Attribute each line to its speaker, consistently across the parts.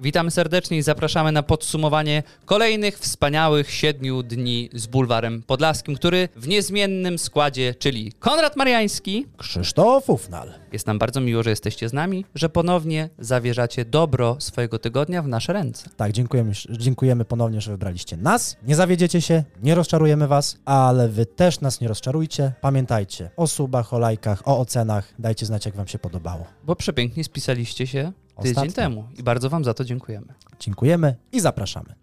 Speaker 1: Witamy serdecznie i zapraszamy na podsumowanie kolejnych wspaniałych siedmiu dni z Bulwarem Podlaskim, który w niezmiennym składzie, czyli Konrad Mariański.
Speaker 2: Krzysztof Ufnal.
Speaker 1: Jest nam bardzo miło, że jesteście z nami, że ponownie zawierzacie dobro swojego tygodnia w nasze ręce.
Speaker 2: Tak, dziękujemy, dziękujemy ponownie, że wybraliście nas. Nie zawiedziecie się, nie rozczarujemy was, ale wy też nas nie rozczarujcie. Pamiętajcie o subach, o lajkach, o ocenach. Dajcie znać, jak wam się podobało.
Speaker 1: Bo przepięknie spisaliście się tydzień
Speaker 2: Ostatnio.
Speaker 1: temu i bardzo wam za to dziękujemy.
Speaker 2: Dziękujemy i zapraszamy.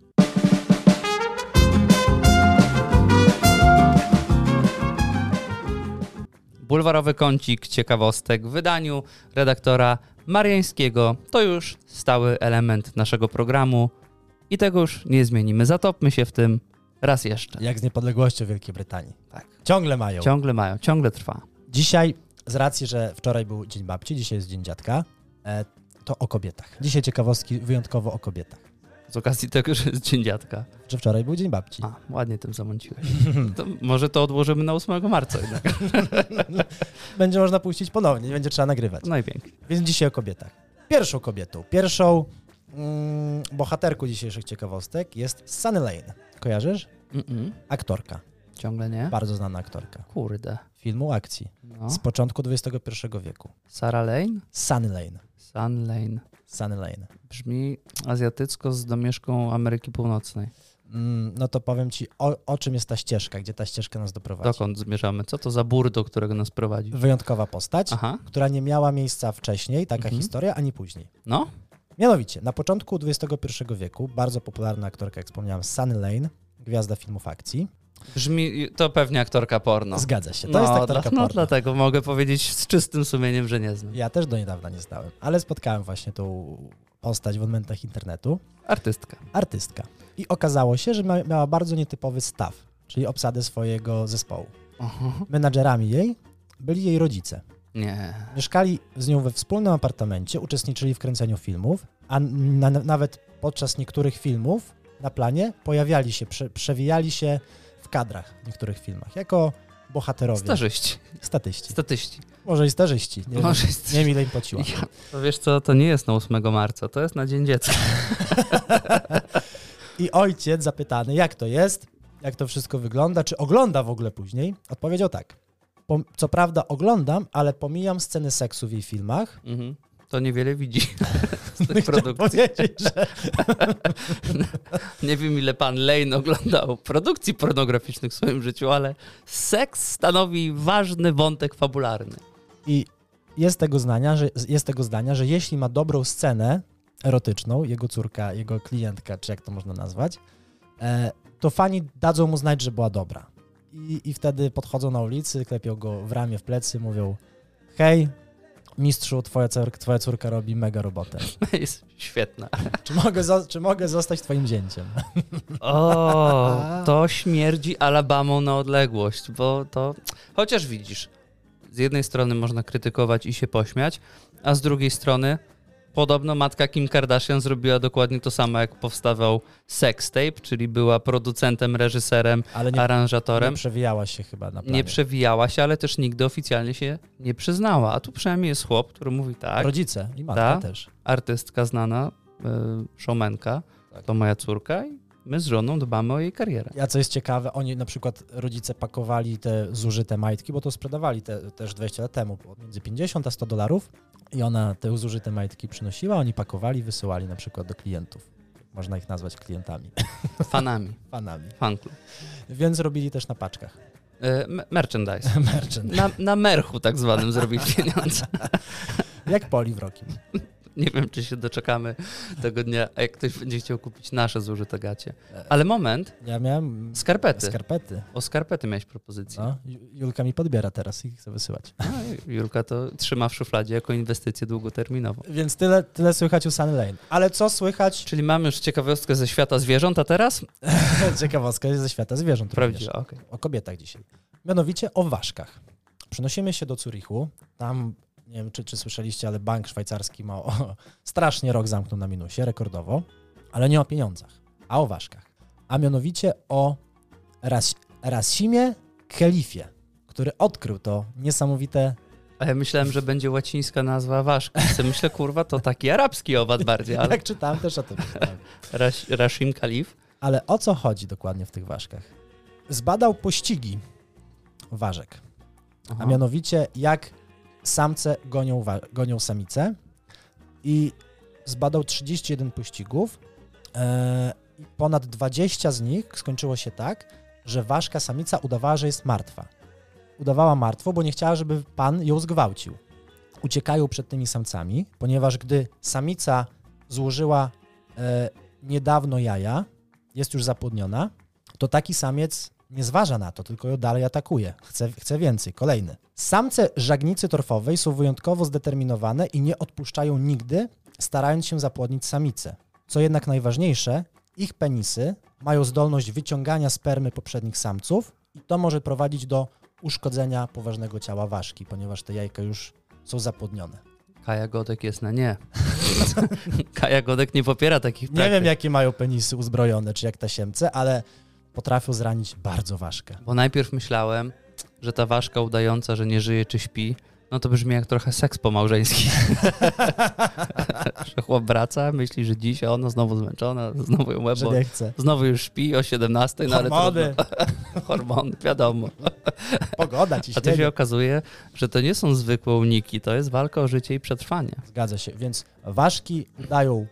Speaker 1: Bulwarowy kącik ciekawostek w wydaniu redaktora Mariańskiego to już stały element naszego programu i tego już nie zmienimy. Zatopmy się w tym raz jeszcze.
Speaker 2: Jak z niepodległością Wielkiej Brytanii.
Speaker 1: Tak.
Speaker 2: Ciągle mają.
Speaker 1: Ciągle mają, ciągle trwa.
Speaker 2: Dzisiaj, z racji, że wczoraj był Dzień Babci, dzisiaj jest Dzień Dziadka, e, to o kobietach. Dzisiaj ciekawostki wyjątkowo o kobietach.
Speaker 1: Z okazji tego, że jest Dzień Dziadka.
Speaker 2: Że wczoraj był Dzień Babci.
Speaker 1: A, ładnie tym zamąciłeś. To może to odłożymy na 8 marca jednak.
Speaker 2: Będzie można puścić ponownie, nie będzie trzeba nagrywać.
Speaker 1: Najpiękniej.
Speaker 2: Więc dzisiaj o kobietach. Pierwszą kobietą, pierwszą mm, bohaterką dzisiejszych ciekawostek jest Sunny Lane. Kojarzysz?
Speaker 1: Mm-mm.
Speaker 2: Aktorka.
Speaker 1: Ciągle nie?
Speaker 2: Bardzo znana aktorka.
Speaker 1: Kurde.
Speaker 2: Filmu akcji.
Speaker 1: Tak. No.
Speaker 2: Z początku XXI wieku.
Speaker 1: Sarah Lane?
Speaker 2: Sunny Lane.
Speaker 1: Sun Lane.
Speaker 2: Sunny Lane.
Speaker 1: Brzmi azjatycko z domieszką Ameryki Północnej.
Speaker 2: Mm, no to powiem ci, o, o czym jest ta ścieżka, gdzie ta ścieżka nas doprowadzi.
Speaker 1: Dokąd zmierzamy? Co to za burdo, którego nas prowadzi?
Speaker 2: Wyjątkowa postać,
Speaker 1: Aha,
Speaker 2: która nie miała miejsca wcześniej, taka
Speaker 1: Mhm.
Speaker 2: historia, ani później.
Speaker 1: no.
Speaker 2: Mianowicie, na początku XXI wieku bardzo popularna aktorka, jak wspomniałem, Sunny Lane, gwiazda filmów akcji.
Speaker 1: Brzmi, to pewnie aktorka porno.
Speaker 2: Zgadza się, to
Speaker 1: no,
Speaker 2: jest aktorka
Speaker 1: dla-
Speaker 2: porno.
Speaker 1: no dlatego mogę powiedzieć z czystym sumieniem, że nie znam.
Speaker 2: Ja też do niedawna nie znałem, ale spotkałem właśnie tą postać w momentach internetu.
Speaker 1: Artystka.
Speaker 2: Artystka. I okazało się, że ma- miała bardzo nietypowy staw, czyli obsadę swojego zespołu.
Speaker 1: Oho.
Speaker 2: Menadżerami jej byli jej rodzice.
Speaker 1: Nie.
Speaker 2: Mieszkali z nią we wspólnym apartamencie, uczestniczyli w kręceniu filmów, a na, na, nawet podczas niektórych filmów na planie pojawiali się, prze, przewijali się w kadrach w niektórych filmach, jako bohaterowie,
Speaker 1: Starzyści.
Speaker 2: statyści.
Speaker 1: Statyści.
Speaker 2: Może i starzyści, nie,
Speaker 1: Może
Speaker 2: wiem, nie wiem ile im płaciła.
Speaker 1: Ja, to wiesz co, to nie jest na 8 marca, to jest na Dzień Dziecka.
Speaker 2: I ojciec zapytany, jak to jest, jak to wszystko wygląda, czy ogląda w ogóle później, odpowiedział tak. Pom- Co prawda oglądam, ale pomijam sceny seksu w jej filmach.
Speaker 1: Mhm. To niewiele widzi z tych
Speaker 2: Chciałem
Speaker 1: produktów.
Speaker 2: powiedzieć, że
Speaker 1: Nie wiem, ile pan Lane oglądał produkcji pornograficznych w swoim życiu, ale seks stanowi ważny wątek fabularny.
Speaker 2: I jest tego, zdania, że, jest tego zdania, że jeśli ma dobrą scenę erotyczną, jego córka, jego klientka, czy jak to można nazwać, e, to fani dadzą mu znać, że była dobra. I, I wtedy podchodzą na ulicy, klepią go w ramię, w plecy, mówią hej, mistrzu, twoja, cór- twoja córka robi mega robotę.
Speaker 1: Jest świetna.
Speaker 2: Czy mogę, zo- czy mogę zostać twoim zięciem?
Speaker 1: O, to śmierdzi Alabamą na odległość, bo to. Chociaż widzisz, z jednej strony można krytykować i się pośmiać, a z drugiej strony podobno matka Kim Kardashian zrobiła dokładnie to samo, jak powstawał sextape, czyli była producentem, reżyserem,
Speaker 2: Ale nie, nie
Speaker 1: aranżatorem.
Speaker 2: przewijała się chyba na planie.
Speaker 1: Nie przewijała się, ale też nigdy oficjalnie się nie przyznała. A tu przynajmniej jest chłop, który mówi tak,
Speaker 2: Rodzice i matka
Speaker 1: Ta.
Speaker 2: też.
Speaker 1: artystka znana, y, showmanka,
Speaker 2: Tak.
Speaker 1: to moja córka i my z żoną dbamy o jej karierę.
Speaker 2: Ja co jest ciekawe, oni na przykład rodzice pakowali te zużyte majtki, bo to sprzedawali te, też 20 lat temu, bo między 50 a 100 dolarów i ona te zużyte majtki przynosiła, oni pakowali, wysyłali na przykład do klientów. Można ich nazwać klientami,
Speaker 1: fanami,
Speaker 2: fanami.
Speaker 1: fanklub.
Speaker 2: Więc robili też na paczkach.
Speaker 1: E, me- merchandise.
Speaker 2: Merchant.
Speaker 1: Na, na merchu tak zwanym zrobić pieniądze.
Speaker 2: Jak poli w rokiem.
Speaker 1: Nie wiem, czy się doczekamy tego dnia, jak ktoś będzie chciał kupić nasze zużyte gacie. Ale moment,
Speaker 2: Ja miałem
Speaker 1: skarpety.
Speaker 2: skarpety.
Speaker 1: O skarpety miałeś propozycję.
Speaker 2: No. Ju- Julka mi podbiera teraz i chce wysyłać.
Speaker 1: No, i Julka to trzyma w szufladzie jako inwestycję długoterminową.
Speaker 2: Więc tyle, tyle słychać u Sunny Lane. Ale co słychać?
Speaker 1: Czyli mamy już ciekawostkę ze świata zwierząt, a teraz?
Speaker 2: Ciekawostka jest ze świata zwierząt. również.
Speaker 1: Prawdziwe, okej.
Speaker 2: o kobietach dzisiaj. Mianowicie o ważkach. Przenosimy się do Zurichu. Tam, nie wiem czy, czy słyszeliście, ale bank szwajcarski ma o, strasznie rok zamknął na minusie, rekordowo, ale nie o pieniądzach, a o ważkach. A mianowicie o Ras, Rasimie Kelifie, który odkrył to niesamowite
Speaker 1: A ja myślałem, że będzie łacińska nazwa ważka. Se myślę, kurwa, to taki arabski owad bardziej, ale
Speaker 2: Tak czytałem też o tym. czytałem.
Speaker 1: Ras- Rashim Khalif.
Speaker 2: Ale o co chodzi dokładnie w tych ważkach? Zbadał pościgi ważek, a
Speaker 1: Aha.
Speaker 2: mianowicie jak samce gonią, wa- gonią samice i zbadał 31 pościgów. E, i ponad 20 z nich skończyło się tak, że ważka samica udawała, że jest martwa. Udawała martwą, bo nie chciała, żeby pan ją zgwałcił. Uciekają przed tymi samcami, ponieważ gdy samica złożyła e, niedawno jaja, jest już zapłodniona, to taki samiec nie zważa na to, tylko ją dalej atakuje. Chce, chce więcej, kolejny. Samce żagnicy torfowej są wyjątkowo zdeterminowane i nie odpuszczają nigdy, starając się zapłodnić samice. Co jednak najważniejsze, ich penisy mają zdolność wyciągania spermy poprzednich samców i to może prowadzić do uszkodzenia poważnego ciała ważki, ponieważ te jajka już są zapłodnione.
Speaker 1: Kaja Godek jest na nie. Kaja Godek nie popiera takich
Speaker 2: Nie
Speaker 1: praktyk.
Speaker 2: wiem, jakie mają penisy uzbrojone, czy jak tasiemce, ale potrafią zranić bardzo ważkę.
Speaker 1: Bo najpierw myślałem, że ta ważka udająca, że nie żyje czy śpi, no to brzmi jak trochę seks pomałżeński. że chłop wraca, myśli, że dzisiaj ona znowu zmęczona, znowu ją łeb
Speaker 2: Że
Speaker 1: boli.
Speaker 2: nie chce.
Speaker 1: Znowu już śpi o 17, no ale
Speaker 2: Hormony,
Speaker 1: trudno. hormony, wiadomo.
Speaker 2: pogoda, ciśnienie.
Speaker 1: A to się okazuje, że to nie są zwykłe uniki, to jest walka o życie i przetrwanie.
Speaker 2: Zgadza się, więc ważki dają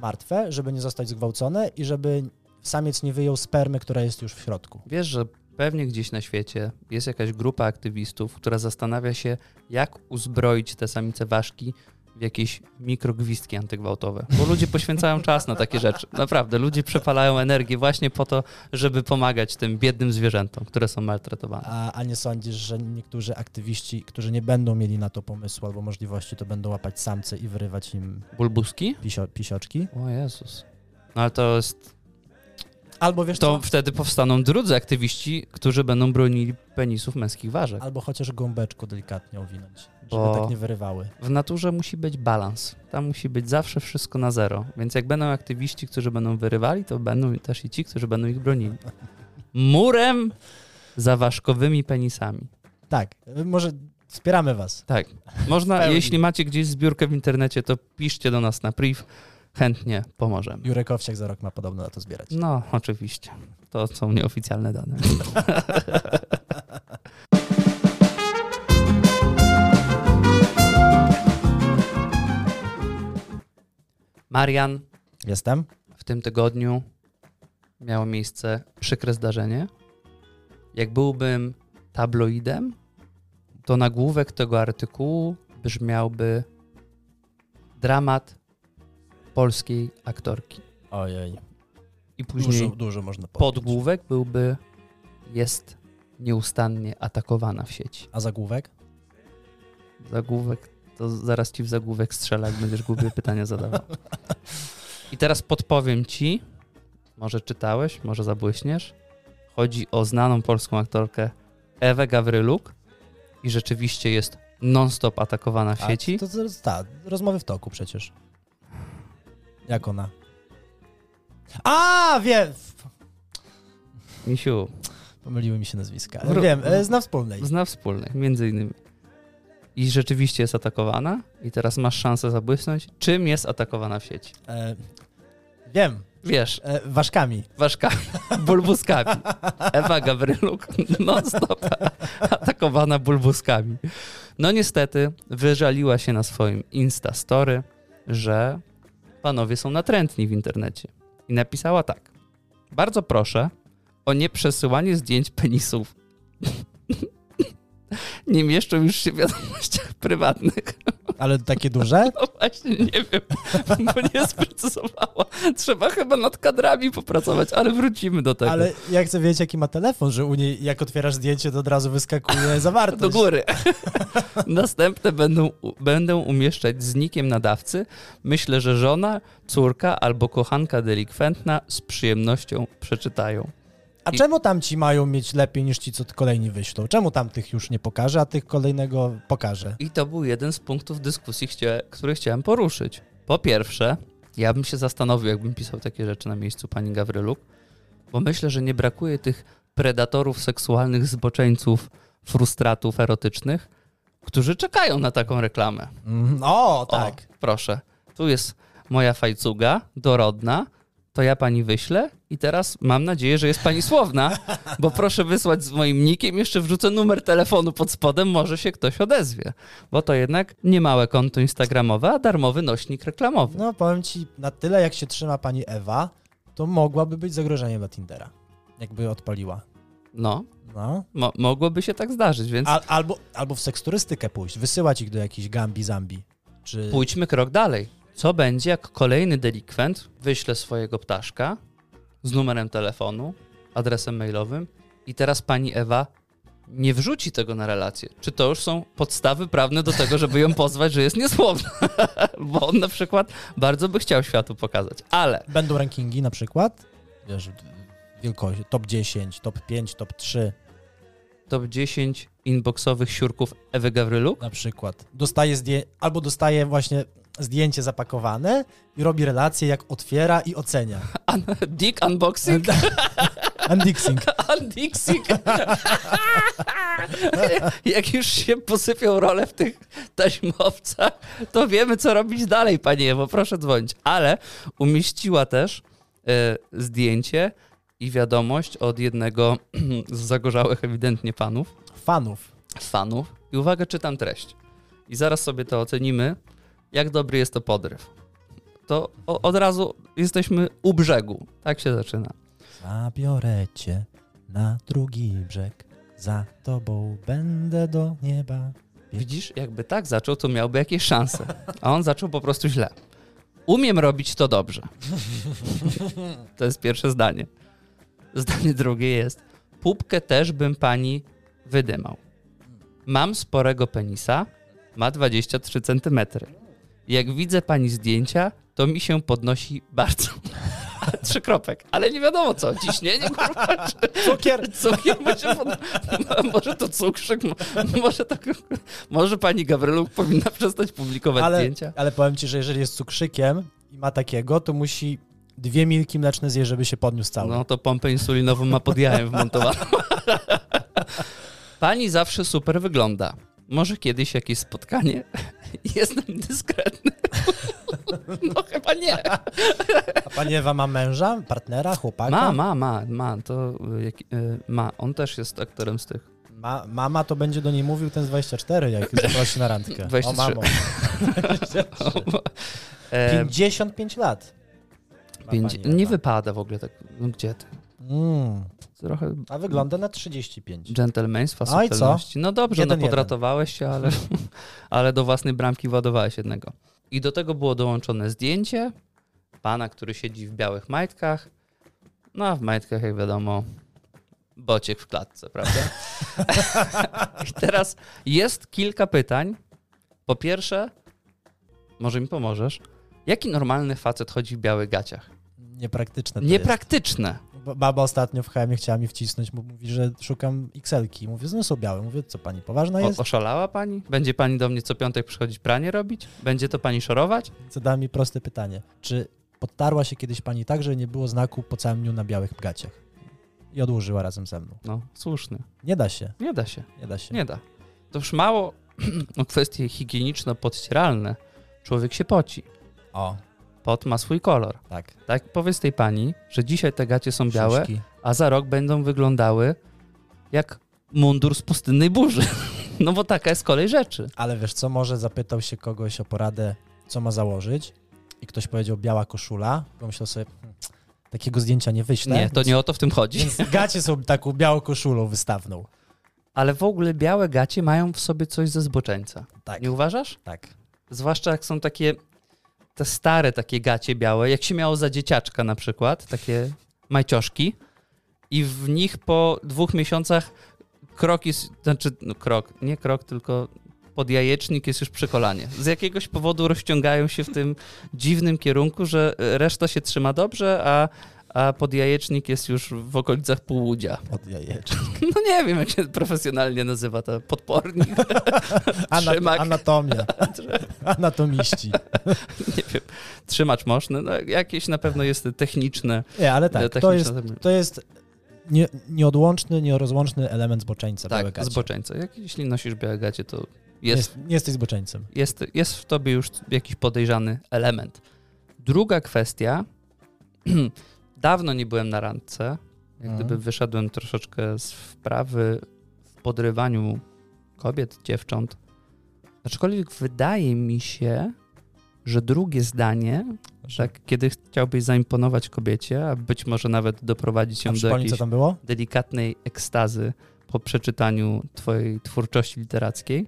Speaker 2: martwe, żeby nie zostać zgwałcone i żeby samiec nie wyjął spermy, która jest już w środku.
Speaker 1: Wiesz, że pewnie gdzieś na świecie jest jakaś grupa aktywistów, która zastanawia się, jak uzbroić te samice ważki w jakieś mikrogwizdki antygwałtowe. Bo ludzie poświęcają czas na takie rzeczy. Naprawdę, ludzie przepalają energię właśnie po to, żeby pomagać tym biednym zwierzętom, które są maltretowane.
Speaker 2: A, a nie sądzisz, że niektórzy aktywiści, którzy nie będą mieli na to pomysłu albo możliwości, to będą łapać samce i wyrywać im
Speaker 1: Bulbuski?
Speaker 2: pisio, pisioczki?
Speaker 1: O Jezus. No ale to jest...
Speaker 2: Albo wiesz
Speaker 1: To
Speaker 2: co?
Speaker 1: wtedy powstaną drudzy aktywiści, którzy będą bronili penisów męskich ważek.
Speaker 2: Albo chociaż gąbeczku delikatnie owinąć, żeby
Speaker 1: Bo-
Speaker 2: tak nie wyrywały.
Speaker 1: W naturze musi być balans. Tam musi być zawsze wszystko na zero. Więc jak będą aktywiści, którzy będą wyrywali, to będą też i ci, którzy będą ich bronili. Murem za ważkowymi penisami.
Speaker 2: Tak, y, może wspieramy was.
Speaker 1: Tak. Można,
Speaker 2: Pełni.
Speaker 1: jeśli macie gdzieś zbiórkę w internecie, to piszcie do nas na priv. Chętnie pomożemy.
Speaker 2: Jurek Owsiak za rok ma podobno na to zbierać.
Speaker 1: No, oczywiście. To są nieoficjalne dane. Marian,
Speaker 2: Jestem?
Speaker 1: w tym tygodniu miało miejsce przykre zdarzenie. Jak byłbym tabloidem, to nagłówek tego artykułu brzmiałby dramat polskiej aktorki.
Speaker 2: Ojej,
Speaker 1: I później
Speaker 2: dużo, dużo można powiedzieć.
Speaker 1: podgłówek byłby jest nieustannie atakowana w sieci.
Speaker 2: A zagłówek?
Speaker 1: Zagłówek, to zaraz ci w zagłówek strzela, jak będziesz głupie pytania zadawał. I teraz podpowiem ci, może czytałeś, może zabłyśniesz, chodzi o znaną polską aktorkę Ewę Gawryluk i rzeczywiście jest non-stop atakowana w
Speaker 2: A,
Speaker 1: sieci.
Speaker 2: To, to, to, ta, rozmowy w toku przecież. Jak ona? A, wiem! F-
Speaker 1: Misiu,
Speaker 2: Pomyliły mi się nazwiska.
Speaker 1: Wró-
Speaker 2: Wiem, e, zna wspólnej.
Speaker 1: zna wspólnych, między innymi. I rzeczywiście jest atakowana i teraz masz szansę zabłysnąć, czym jest atakowana w sieci.
Speaker 2: E, wiem,
Speaker 1: Wiesz,
Speaker 2: e, ważkami.
Speaker 1: ważkami, bulbuskami. Ewa Gabryluk non-stop atakowana bulbuskami. No niestety wyżaliła się na swoim Instastory, że panowie są natrętni w internecie. I napisała tak. Bardzo proszę o nieprzesyłanie zdjęć penisów. Nie mieszczą już się w wiadomościach prywatnych.
Speaker 2: Ale takie duże?
Speaker 1: No właśnie, nie wiem, bo nie sprecyzowała. Trzeba chyba nad kadrami popracować, ale wrócimy do tego.
Speaker 2: Ale ja chcę wiedzieć, jaki ma telefon, że u niej, jak otwierasz zdjęcie, to od razu wyskakuje zawartość.
Speaker 1: Do góry. Następne będą, będą umieszczać z nikiem nadawcy. Myślę, że żona, córka albo kochanka delikwentna z przyjemnością przeczytają.
Speaker 2: A czemu tam ci mają mieć lepiej niż ci, co kolejni wyślą? Czemu tam tych już nie pokaże, a tych kolejnego pokaże?
Speaker 1: I to był jeden z punktów dyskusji, chcia, który chciałem poruszyć. Po pierwsze, ja bym się zastanowił, jakbym pisał takie rzeczy na miejscu pani Gawryluk, bo myślę, że nie brakuje tych predatorów seksualnych, zboczeńców, frustratów erotycznych, którzy czekają na taką reklamę.
Speaker 2: Mhm. O, tak.
Speaker 1: O, proszę. Tu jest moja fajcuga, dorodna. To ja pani wyślę i teraz mam nadzieję, że jest pani słowna, bo proszę wysłać z moim nikiem, jeszcze wrzucę numer telefonu pod spodem, może się ktoś odezwie, bo to jednak niemałe konto instagramowe, a darmowy nośnik reklamowy.
Speaker 2: No powiem ci, na tyle jak się trzyma pani Ewa, to mogłaby być zagrożeniem dla Tindera. Jakby odpaliła.
Speaker 1: No,
Speaker 2: No.
Speaker 1: mo- mogłoby się tak zdarzyć, więc
Speaker 2: Al, albo, albo w seksturystykę pójść, wysyłać ich do jakichś Gambi Zambi. Czy...
Speaker 1: pójdźmy krok dalej. Co będzie, jak kolejny delikwent wyśle swojego ptaszka z numerem telefonu, adresem mailowym i teraz pani Ewa nie wrzuci tego na relację? Czy to już są podstawy prawne do tego, żeby ją pozwać, że jest niesłowna? Bo on na przykład bardzo by chciał światu pokazać. Ale
Speaker 2: Będą rankingi na przykład, wiesz, wielkości, top 10, top 5, top 3
Speaker 1: top 10 inboxowych siurków Ewy Gawryluk?
Speaker 2: na przykład. Dostaje zdję... albo dostaje właśnie zdjęcie zapakowane i robi relację, jak otwiera i ocenia.
Speaker 1: Dick unboxing?
Speaker 2: Unboxing.
Speaker 1: Andixik. Jak już się posypią role w tych taśmowcach, to wiemy, co robić dalej, panie Ewo, proszę dzwonić. Ale umieściła też e, zdjęcie i wiadomość od jednego z zagorzałych ewidentnie panów,
Speaker 2: Fanów.
Speaker 1: fanów. I uwaga, czytam treść. I zaraz sobie to ocenimy, jak dobry jest to podryw. To o, od razu jesteśmy u brzegu. Tak się zaczyna.
Speaker 2: Zabiorę cię na drugi brzeg, za tobą będę do nieba.
Speaker 1: Widzisz, jakby tak zaczął, to miałby jakieś szanse. A on zaczął po prostu źle. Umiem robić to dobrze. To jest pierwsze zdanie. Zdanie drugie jest: Pupkę też bym pani wydymał. Mam sporego penisa, ma 23 cm. Jak widzę pani zdjęcia, to mi się podnosi bardzo. Trzy kropek, ale nie wiadomo co, ciśnienie kurwa, czy,
Speaker 2: Cukier!
Speaker 1: Cukier może, pod... może to cukrzyk, mo- może, to... może pani Gawryluk powinna przestać publikować
Speaker 2: Ale,
Speaker 1: zdjęcia.
Speaker 2: ale powiem ci, że jeżeli jest cukrzykiem i ma takiego, to musi dwie milki mleczne zjeść, żeby się podniósł cały.
Speaker 1: No to pompę insulinową ma pod jajem wmontowaną. pani zawsze super wygląda. Może kiedyś jakieś spotkanie? Jestem dyskretny. No chyba nie.
Speaker 2: A pani Ewa ma męża, partnera, chłopaka?
Speaker 1: Ma, ma, ma, ma. To y, jak, y, ma. On też jest aktorem z tych.
Speaker 2: ma. Mama to będzie do niej mówił ten z 24, jak zaprosi na randkę.
Speaker 1: 23.
Speaker 2: O mamo. 23.
Speaker 1: E,
Speaker 2: 55 lat. ma
Speaker 1: pięć,
Speaker 2: pani
Speaker 1: nie
Speaker 2: Ewa.
Speaker 1: wypada w ogóle tak. No gdzie ty?
Speaker 2: Mm,
Speaker 1: Trochę
Speaker 2: a wygląda na 35.
Speaker 1: dżentelmeństwa,
Speaker 2: No i co?
Speaker 1: subtelności. No dobrze,
Speaker 2: Jeden,
Speaker 1: no
Speaker 2: jeden.
Speaker 1: podratowałeś się, ale, ale do własnej bramki ładowałeś jednego. I do tego było dołączone zdjęcie pana, który siedzi w białych majtkach. No a w majtkach, jak wiadomo, bociek w klatce, prawda? I teraz jest kilka pytań. Po pierwsze, może mi pomożesz, jaki normalny facet chodzi w białych gaciach?
Speaker 2: Niepraktyczne No to jest.
Speaker 1: Niepraktyczne.
Speaker 2: Bo Baba ostatnio w HM chciała mi wcisnąć, bo mówi, że szukam XL-ki. Mówię, no są białe. Mówię, co pani, poważna
Speaker 1: O-
Speaker 2: No jest?
Speaker 1: Oszalała pani? Będzie pani do mnie co piątek przychodzić pranie robić? Będzie to pani szorować?
Speaker 2: Zadała mi proste pytanie. Czy podtarła się kiedyś pani tak, że nie było znaku po całym dniu na białych gaciach? I odłożyła razem ze mną.
Speaker 1: No, słuszny.
Speaker 2: Nie da się,
Speaker 1: Nie da się.
Speaker 2: nie da się.
Speaker 1: Nie da. To już mało o kwestie higieniczno-podcieralne. Człowiek się poci.
Speaker 2: O,
Speaker 1: Pot ma swój kolor.
Speaker 2: tak.
Speaker 1: Tak powiedz tej pani, że dzisiaj te gacie są białe,
Speaker 2: Szuszki.
Speaker 1: a za rok będą wyglądały jak mundur z pustynnej burzy. No bo taka jest kolej rzeczy.
Speaker 2: Ale wiesz co, może zapytał się kogoś o poradę, co ma założyć i ktoś powiedział biała koszula. Pomyślał sobie, "Hmm, takiego zdjęcia nie wyślę.
Speaker 1: Nie, to nie o to w tym chodzi.
Speaker 2: Więc gacie są taką białą koszulą wystawną.
Speaker 1: Ale w ogóle białe gacie mają w sobie coś ze zboczeńca.
Speaker 2: Tak,
Speaker 1: Nie uważasz?
Speaker 2: tak.
Speaker 1: Zwłaszcza jak są takie te stare takie gacie białe, jak się miało za dzieciaczka na przykład, takie majcioszki i w nich po dwóch miesiącach krok jest, znaczy no, krok, nie krok, tylko podjajecznik jest już przy kolanie. Z jakiegoś powodu rozciągają się w tym dziwnym kierunku, że reszta się trzyma dobrze, a, a podjajecznik jest już w okolicach półłudzia.
Speaker 2: Od jajeczek.
Speaker 1: No nie wiem, jak się profesjonalnie nazywa to podpornik. Trzymak.
Speaker 2: Anat- anatomia. Anatomiści.
Speaker 1: nie wiem, trzymacz moszny, no jakieś na pewno jest techniczne.
Speaker 2: Nie, ale
Speaker 1: No,
Speaker 2: tak, to jest,
Speaker 1: techniczne-
Speaker 2: to jest nie, nieodłączny, nierozłączny element zboczeńca. białe
Speaker 1: tak,
Speaker 2: gacie.
Speaker 1: zboczeńca. Jak, jeśli nosisz białe gacie, to Jest,
Speaker 2: Jest, nie jesteś zboczeńcem.
Speaker 1: jest, jest w tobie już jakiś podejrzany element. Druga kwestia. Dawno nie byłem na randce. Jak
Speaker 2: Mhm.
Speaker 1: gdyby wyszedłem troszeczkę z wprawy w podrywaniu kobiet, dziewcząt. Aczkolwiek wydaje mi się, że drugie zdanie, że kiedy chciałbyś zaimponować kobiecie, a być może nawet doprowadzić
Speaker 2: A
Speaker 1: ją do
Speaker 2: przypomnij,
Speaker 1: jakiejś
Speaker 2: co tam było?
Speaker 1: delikatnej ekstazy po przeczytaniu Twojej twórczości literackiej,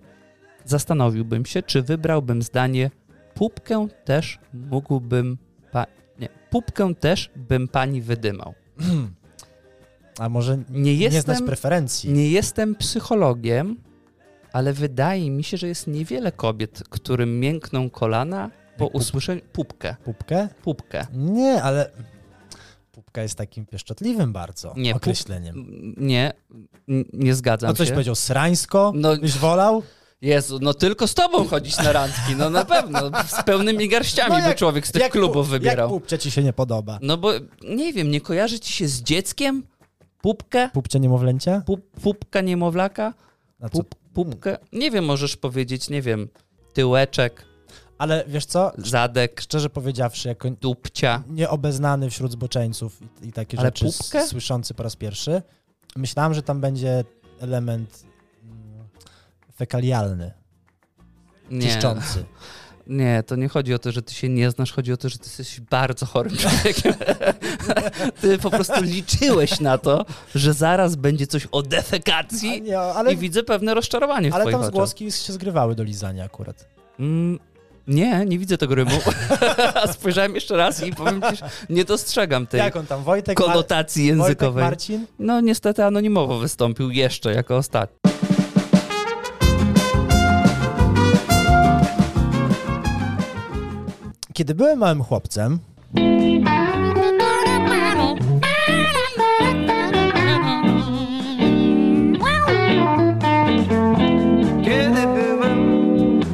Speaker 1: zastanowiłbym się, czy wybrałbym zdanie Pupkę też mógłbym. Pa... Nie, pupkę też bym pani wydymał.
Speaker 2: A może
Speaker 1: Nie
Speaker 2: nie znać
Speaker 1: jestem,
Speaker 2: preferencji?
Speaker 1: nie jestem psychologiem, ale wydaje mi się, że jest niewiele kobiet, którym miękną kolana po
Speaker 2: Jak pup-
Speaker 1: usłyszeniu pupkę,
Speaker 2: Pupkę?
Speaker 1: pupkę.
Speaker 2: Nie, ale pupka jest takim pieszczotliwym bardzo
Speaker 1: Nie, pup-
Speaker 2: określeniem.
Speaker 1: M- Nie, n- nie zgadzam
Speaker 2: A No coś
Speaker 1: się.
Speaker 2: powiedział srańsko?
Speaker 1: No,
Speaker 2: Byś wolał?
Speaker 1: Jezu, no tylko z tobą chodzić na randki, no na pewno. Z pełnymi garściami
Speaker 2: No jak-
Speaker 1: by człowiek z tych
Speaker 2: Jak
Speaker 1: klubów
Speaker 2: pu- Jak
Speaker 1: wybierał.
Speaker 2: pupcie ci się nie podoba?
Speaker 1: no bo nie wiem, nie kojarzy ci się z dzieckiem? Pupkę?
Speaker 2: Pupcie niemowlęcia?
Speaker 1: Pup, pupka niemowlaka?
Speaker 2: A co?
Speaker 1: Pup, pupkę? Nie wiem, możesz powiedzieć, nie wiem, tyłeczek,
Speaker 2: Ale wiesz co?
Speaker 1: zadek,
Speaker 2: Szczerze powiedziawszy, jako
Speaker 1: dupcia.
Speaker 2: nieobeznany wśród zboczeńców i, i takie
Speaker 1: Ale
Speaker 2: rzeczy s-
Speaker 1: pupkę?
Speaker 2: słyszący po raz pierwszy, myślałem, że tam będzie element mm, fekalialny,
Speaker 1: Nie,
Speaker 2: czyszczący.
Speaker 1: nie, to nie chodzi o to, że ty się nie znasz, chodzi o to, że ty jesteś bardzo chorym człowiekiem. ty po prostu liczyłeś na to, że zaraz będzie coś o defekacji.
Speaker 2: A nie, ale
Speaker 1: I widzę pewne rozczarowanie w
Speaker 2: ale
Speaker 1: twoich
Speaker 2: tam
Speaker 1: oczach.
Speaker 2: zgłoski się zgrywały do lizania akurat.
Speaker 1: Mm, nie, nie widzę tego rymu. Spojrzałem jeszcze raz i powiem ci, że nie dostrzegam tej
Speaker 2: Jak on tam, Wojtek, Mar-
Speaker 1: konotacji
Speaker 2: Wojtek
Speaker 1: językowej.
Speaker 2: Marcin?
Speaker 1: No niestety anonimowo wystąpił jeszcze jako ostatni.
Speaker 2: Kiedy byłem małym chłopcem,
Speaker 3: Kiedy byłem,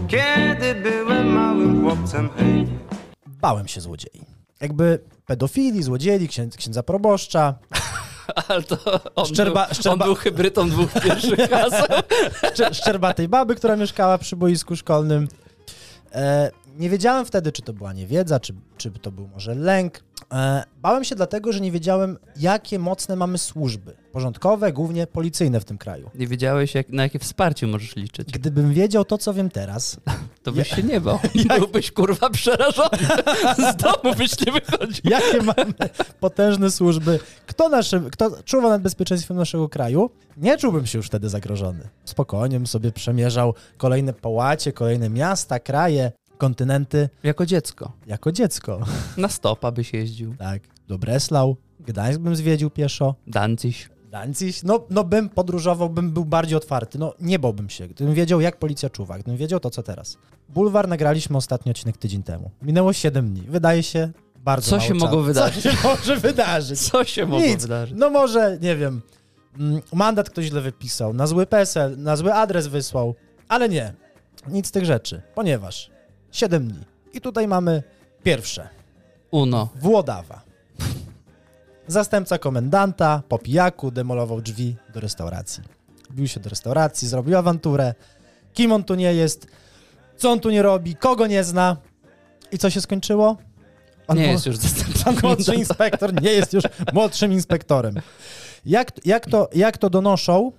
Speaker 3: kiedy byłem małym chłopcem, hej.
Speaker 2: bałem się złodziei. Jakby pedofili, złodziei, księdza, księdza proboszcza,
Speaker 1: Ale to on,
Speaker 2: Szczerba-
Speaker 1: był, on
Speaker 2: szczerba-
Speaker 1: był hybrydą dwóch pierwszych klas.
Speaker 2: szczer- szczerbatej baby, która mieszkała przy boisku szkolnym. E, nie wiedziałem wtedy, czy to była niewiedza, czy, czy to był może lęk. E, bałem się dlatego, że nie wiedziałem, jakie mocne mamy służby. Porządkowe, głównie policyjne w tym kraju.
Speaker 1: Nie wiedziałeś, jak, na jakie wsparcie możesz liczyć.
Speaker 2: Gdybym wiedział to, co wiem teraz,
Speaker 1: To byś się nie bał. Byłbyś kurwa przerażony. Z domu byś nie wychodził.
Speaker 2: jakie mamy potężne służby, kto, naszym, kto czuwa nad bezpieczeństwem naszego kraju, nie czułbym się już wtedy zagrożony. Spokojnie bym sobie przemierzał kolejne pałacie, kolejne miasta, kraje, kontynenty
Speaker 1: Jako dziecko.
Speaker 2: jako dziecko.
Speaker 1: Na stopa byś jeździł.
Speaker 2: Tak, do Breslau, Gdańsk bym zwiedził pieszo,
Speaker 1: Dancyś.
Speaker 2: Danzig, no, no bym podróżował, bym był bardziej otwarty, no nie bałbym się, gdybym wiedział jak policja czuwa, gdybym wiedział to co teraz. Bulwar nagraliśmy ostatni odcinek tydzień temu. Minęło 7 dni, wydaje się bardzo
Speaker 1: Co
Speaker 2: mało
Speaker 1: się
Speaker 2: czasu.
Speaker 1: mogło wydarzyć?
Speaker 2: Co się może wydarzyć?
Speaker 1: Co się mogło
Speaker 2: Nic.
Speaker 1: wydarzyć?
Speaker 2: No może, nie wiem, mm, mandat ktoś źle wypisał, na zły PESEL, na zły adres wysłał, ale nie, nic z tych rzeczy, ponieważ 7 dni. I tutaj mamy pierwsze.
Speaker 1: Uno.
Speaker 2: Włodawa. Zastępca komendanta po pijaku demolował drzwi do restauracji. Bił się do restauracji, zrobił awanturę. Kim on tu nie jest, co on tu nie robi, kogo nie zna. I co się skończyło? Pan
Speaker 1: nie
Speaker 2: mu-
Speaker 1: jest już dostępny.
Speaker 2: Pan młodszy inspektor nie jest już młodszym inspektorem. Jak, jak, to, jak to donoszą?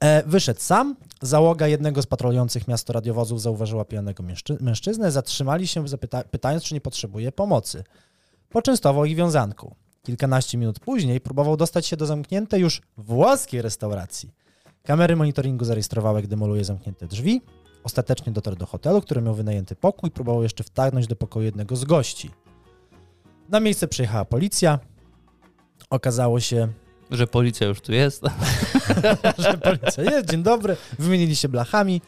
Speaker 2: E, wyszedł sam. Załoga jednego z patrolujących miasto radiowozów zauważyła pijanego mężczy- mężczyznę. Zatrzymali się, zapyta- pytając, czy nie potrzebuje pomocy. Poczęstował ich wiązanku. Kilkanaście minut później próbował dostać się do zamkniętej już włoskiej restauracji. Kamery monitoringu zarejestrowały, jak demoluje zamknięte drzwi. Ostatecznie dotarł do hotelu, który miał wynajęty pokój. Próbował jeszcze wtargnąć do pokoju jednego z gości. Na miejsce przyjechała policja. Okazało się,
Speaker 1: Że policja już tu jest.
Speaker 2: że policja jest, dzień dobry, wymienili się blachami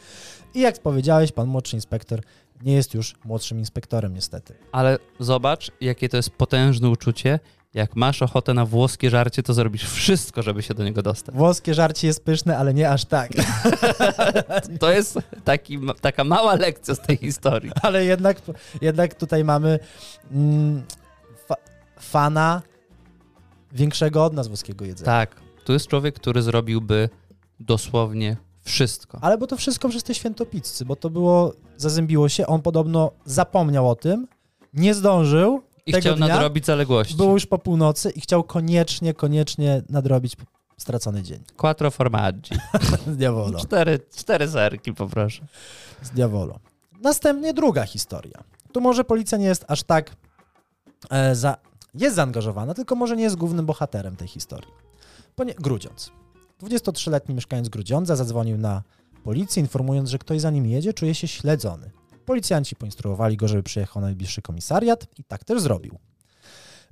Speaker 2: i jak powiedziałeś, pan młodszy inspektor nie jest już młodszym inspektorem niestety.
Speaker 1: Ale zobacz, jakie to jest potężne uczucie. Jak masz ochotę na włoskie żarcie, to zrobisz wszystko, żeby się do niego dostać.
Speaker 2: Włoskie żarcie jest pyszne, ale nie aż tak.
Speaker 1: To jest taki, taka mała lekcja z tej historii.
Speaker 2: Ale jednak, jednak tutaj mamy mm, fa fana większego od nas włoskiego jedzenia.
Speaker 1: Tak, tu jest człowiek, który zrobiłby dosłownie Wszystko.
Speaker 2: Ale bo to wszystko przez te świętopiccy, bo to było, zazębiło się, on podobno zapomniał o tym, nie zdążył,
Speaker 1: I
Speaker 2: tego
Speaker 1: chciał
Speaker 2: dnia
Speaker 1: nadrobić zaległości.
Speaker 2: było już po północy i chciał koniecznie, koniecznie nadrobić stracony dzień.
Speaker 1: Quattro formaggi.
Speaker 2: Z diabolo,
Speaker 1: Cztery, cztery serki poproszę.
Speaker 2: z diabolo. Następnie druga historia. Tu może policja nie jest aż tak e, za, jest zaangażowana, tylko może nie jest głównym bohaterem tej historii. Ponie, Grudziądz. 23-letni mieszkaniec Grudziądza zadzwonił na policję, informując, że ktoś za nim jedzie, czuje się śledzony. Policjanci poinstruowali go, żeby przyjechał na najbliższy komisariat i tak też zrobił.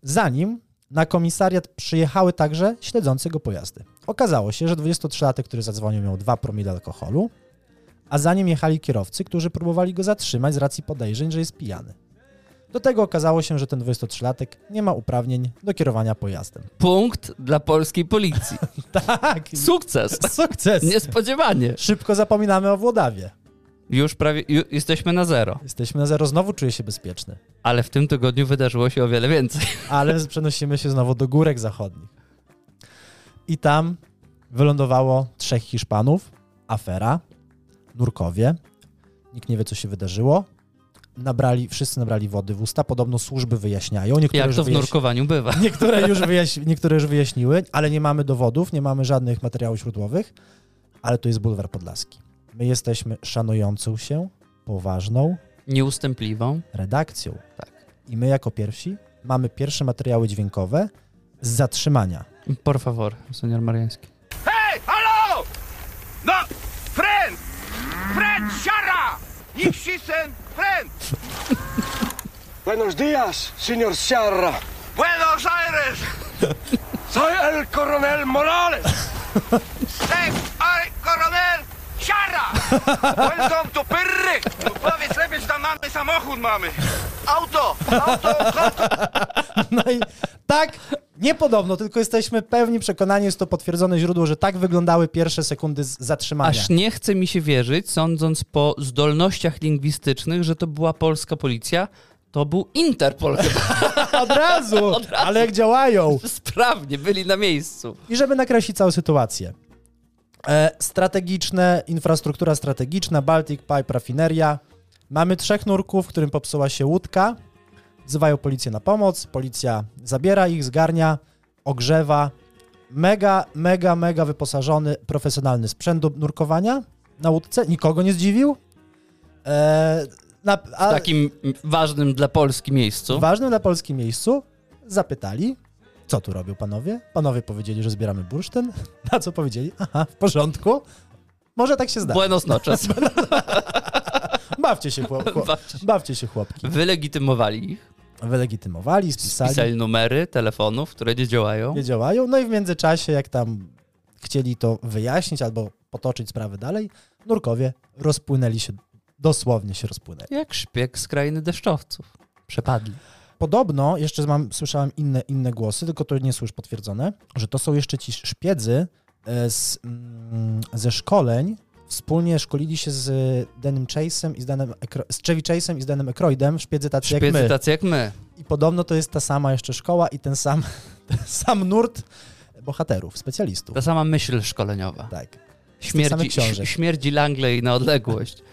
Speaker 2: Zanim na komisariat przyjechały także śledzące go pojazdy. Okazało się, że 23-latek, który zadzwonił, miał 2 promile alkoholu, a za nim jechali kierowcy, którzy próbowali go zatrzymać z racji podejrzeń, że jest pijany. Do tego okazało się, że ten 23-latek nie ma uprawnień do kierowania pojazdem.
Speaker 1: Punkt dla polskiej policji.
Speaker 2: Tak!
Speaker 1: Sukces!
Speaker 2: Sukces!
Speaker 1: Niespodziewanie.
Speaker 2: Szybko zapominamy o Włodawie.
Speaker 1: Już prawie ju, jesteśmy na zero.
Speaker 2: Jesteśmy na zero, znowu czuję się bezpieczny.
Speaker 1: Ale w tym tygodniu wydarzyło się o wiele więcej.
Speaker 2: Ale przenosimy się znowu do górek zachodnich. I tam wylądowało trzech Hiszpanów, afera, nurkowie. Nikt nie wie, co się wydarzyło. Nabrali, wszyscy nabrali wody w usta. Podobno służby wyjaśniają. Niektóre
Speaker 1: Jak
Speaker 2: już
Speaker 1: to w
Speaker 2: wyjaś-
Speaker 1: nurkowaniu bywa.
Speaker 2: Niektóre już, wyjaś... Niektóre już wyjaśniły, ale nie mamy dowodów, nie mamy żadnych materiałów źródłowych, ale to jest bulwar podlaski. My jesteśmy szanującą się, poważną
Speaker 1: Nieustępliwą.
Speaker 2: redakcją.
Speaker 1: Tak.
Speaker 2: I my jako pierwsi mamy pierwsze materiały dźwiękowe z zatrzymania.
Speaker 1: Por favor, senior Mariański.
Speaker 4: Hej, halo! No, friend! Friend, siara! Niech się sen, friend!
Speaker 5: Buenos días, señor Sierra.
Speaker 4: Buenos Aires!
Speaker 5: Soy el coronel Morales.
Speaker 4: Sek, ale, koronel, siara! Welcome to Pyrryk! Powiedz lepiej, że tam mamy samochód mamy. Auto, auto, auto!
Speaker 2: No i tak, niepodobno, tylko jesteśmy pewni, przekonani, jest to potwierdzone źródło, że tak wyglądały pierwsze sekundy z zatrzymania.
Speaker 1: Aż nie chce mi się wierzyć, sądząc po zdolnościach lingwistycznych, że to była polska policja. To był Interpol. chyba.
Speaker 2: Od razu, ale jak działają.
Speaker 1: Sprawnie byli na miejscu.
Speaker 2: I żeby nakreślić całą sytuację. E, strategiczne, infrastruktura strategiczna, Baltic Pipe Rafineria. Mamy trzech nurków, którym popsuła się łódka. Wzywają policję na pomoc, policja zabiera ich, zgarnia, ogrzewa. Mega, mega, mega wyposażony, profesjonalny sprzęt do nurkowania na łódce. Nikogo nie zdziwił. E, na, a,
Speaker 1: W takim ważnym dla Polski miejscu.
Speaker 2: ważnym dla Polski miejscu zapytali, co tu robią panowie. Panowie powiedzieli, że zbieramy bursztyn. Na co powiedzieli, aha, w porządku. Może tak się zda.
Speaker 1: Buenos noches.
Speaker 2: Bawcie się, chłop, chłop,
Speaker 1: Bawcie się.
Speaker 2: bawcie się chłopki.
Speaker 1: Wylegitymowali ich.
Speaker 2: Wylegitymowali, spisali,
Speaker 1: Pisali numery telefonów, które nie działają.
Speaker 2: nie działają. No i w międzyczasie, jak tam chcieli to wyjaśnić albo potoczyć sprawę dalej, nurkowie rozpłynęli się, dosłownie się rozpłynęli.
Speaker 1: Jak szpieg z krainy deszczowców. Przepadli.
Speaker 2: Podobno, jeszcze mam, słyszałem inne, inne głosy, tylko to nie są już potwierdzone, że to są jeszcze ci szpiedzy e, z, mm, ze szkoleń. Wspólnie szkolili się z Denim Chase'em i z, Danem Ekro, z Chevy Chase'em i z Danem Ekroydem, szpiedzy tacy
Speaker 1: Szpiedzy
Speaker 2: jak my.
Speaker 1: tacy jak my.
Speaker 2: I podobno to jest ta sama jeszcze szkoła i ten sam, ten sam nurt bohaterów, specjalistów.
Speaker 1: Ta sama myśl szkoleniowa.
Speaker 2: Tak. samych
Speaker 1: Śmierdzi,
Speaker 2: książek.
Speaker 1: ś- śmierdzi Langley na odległość.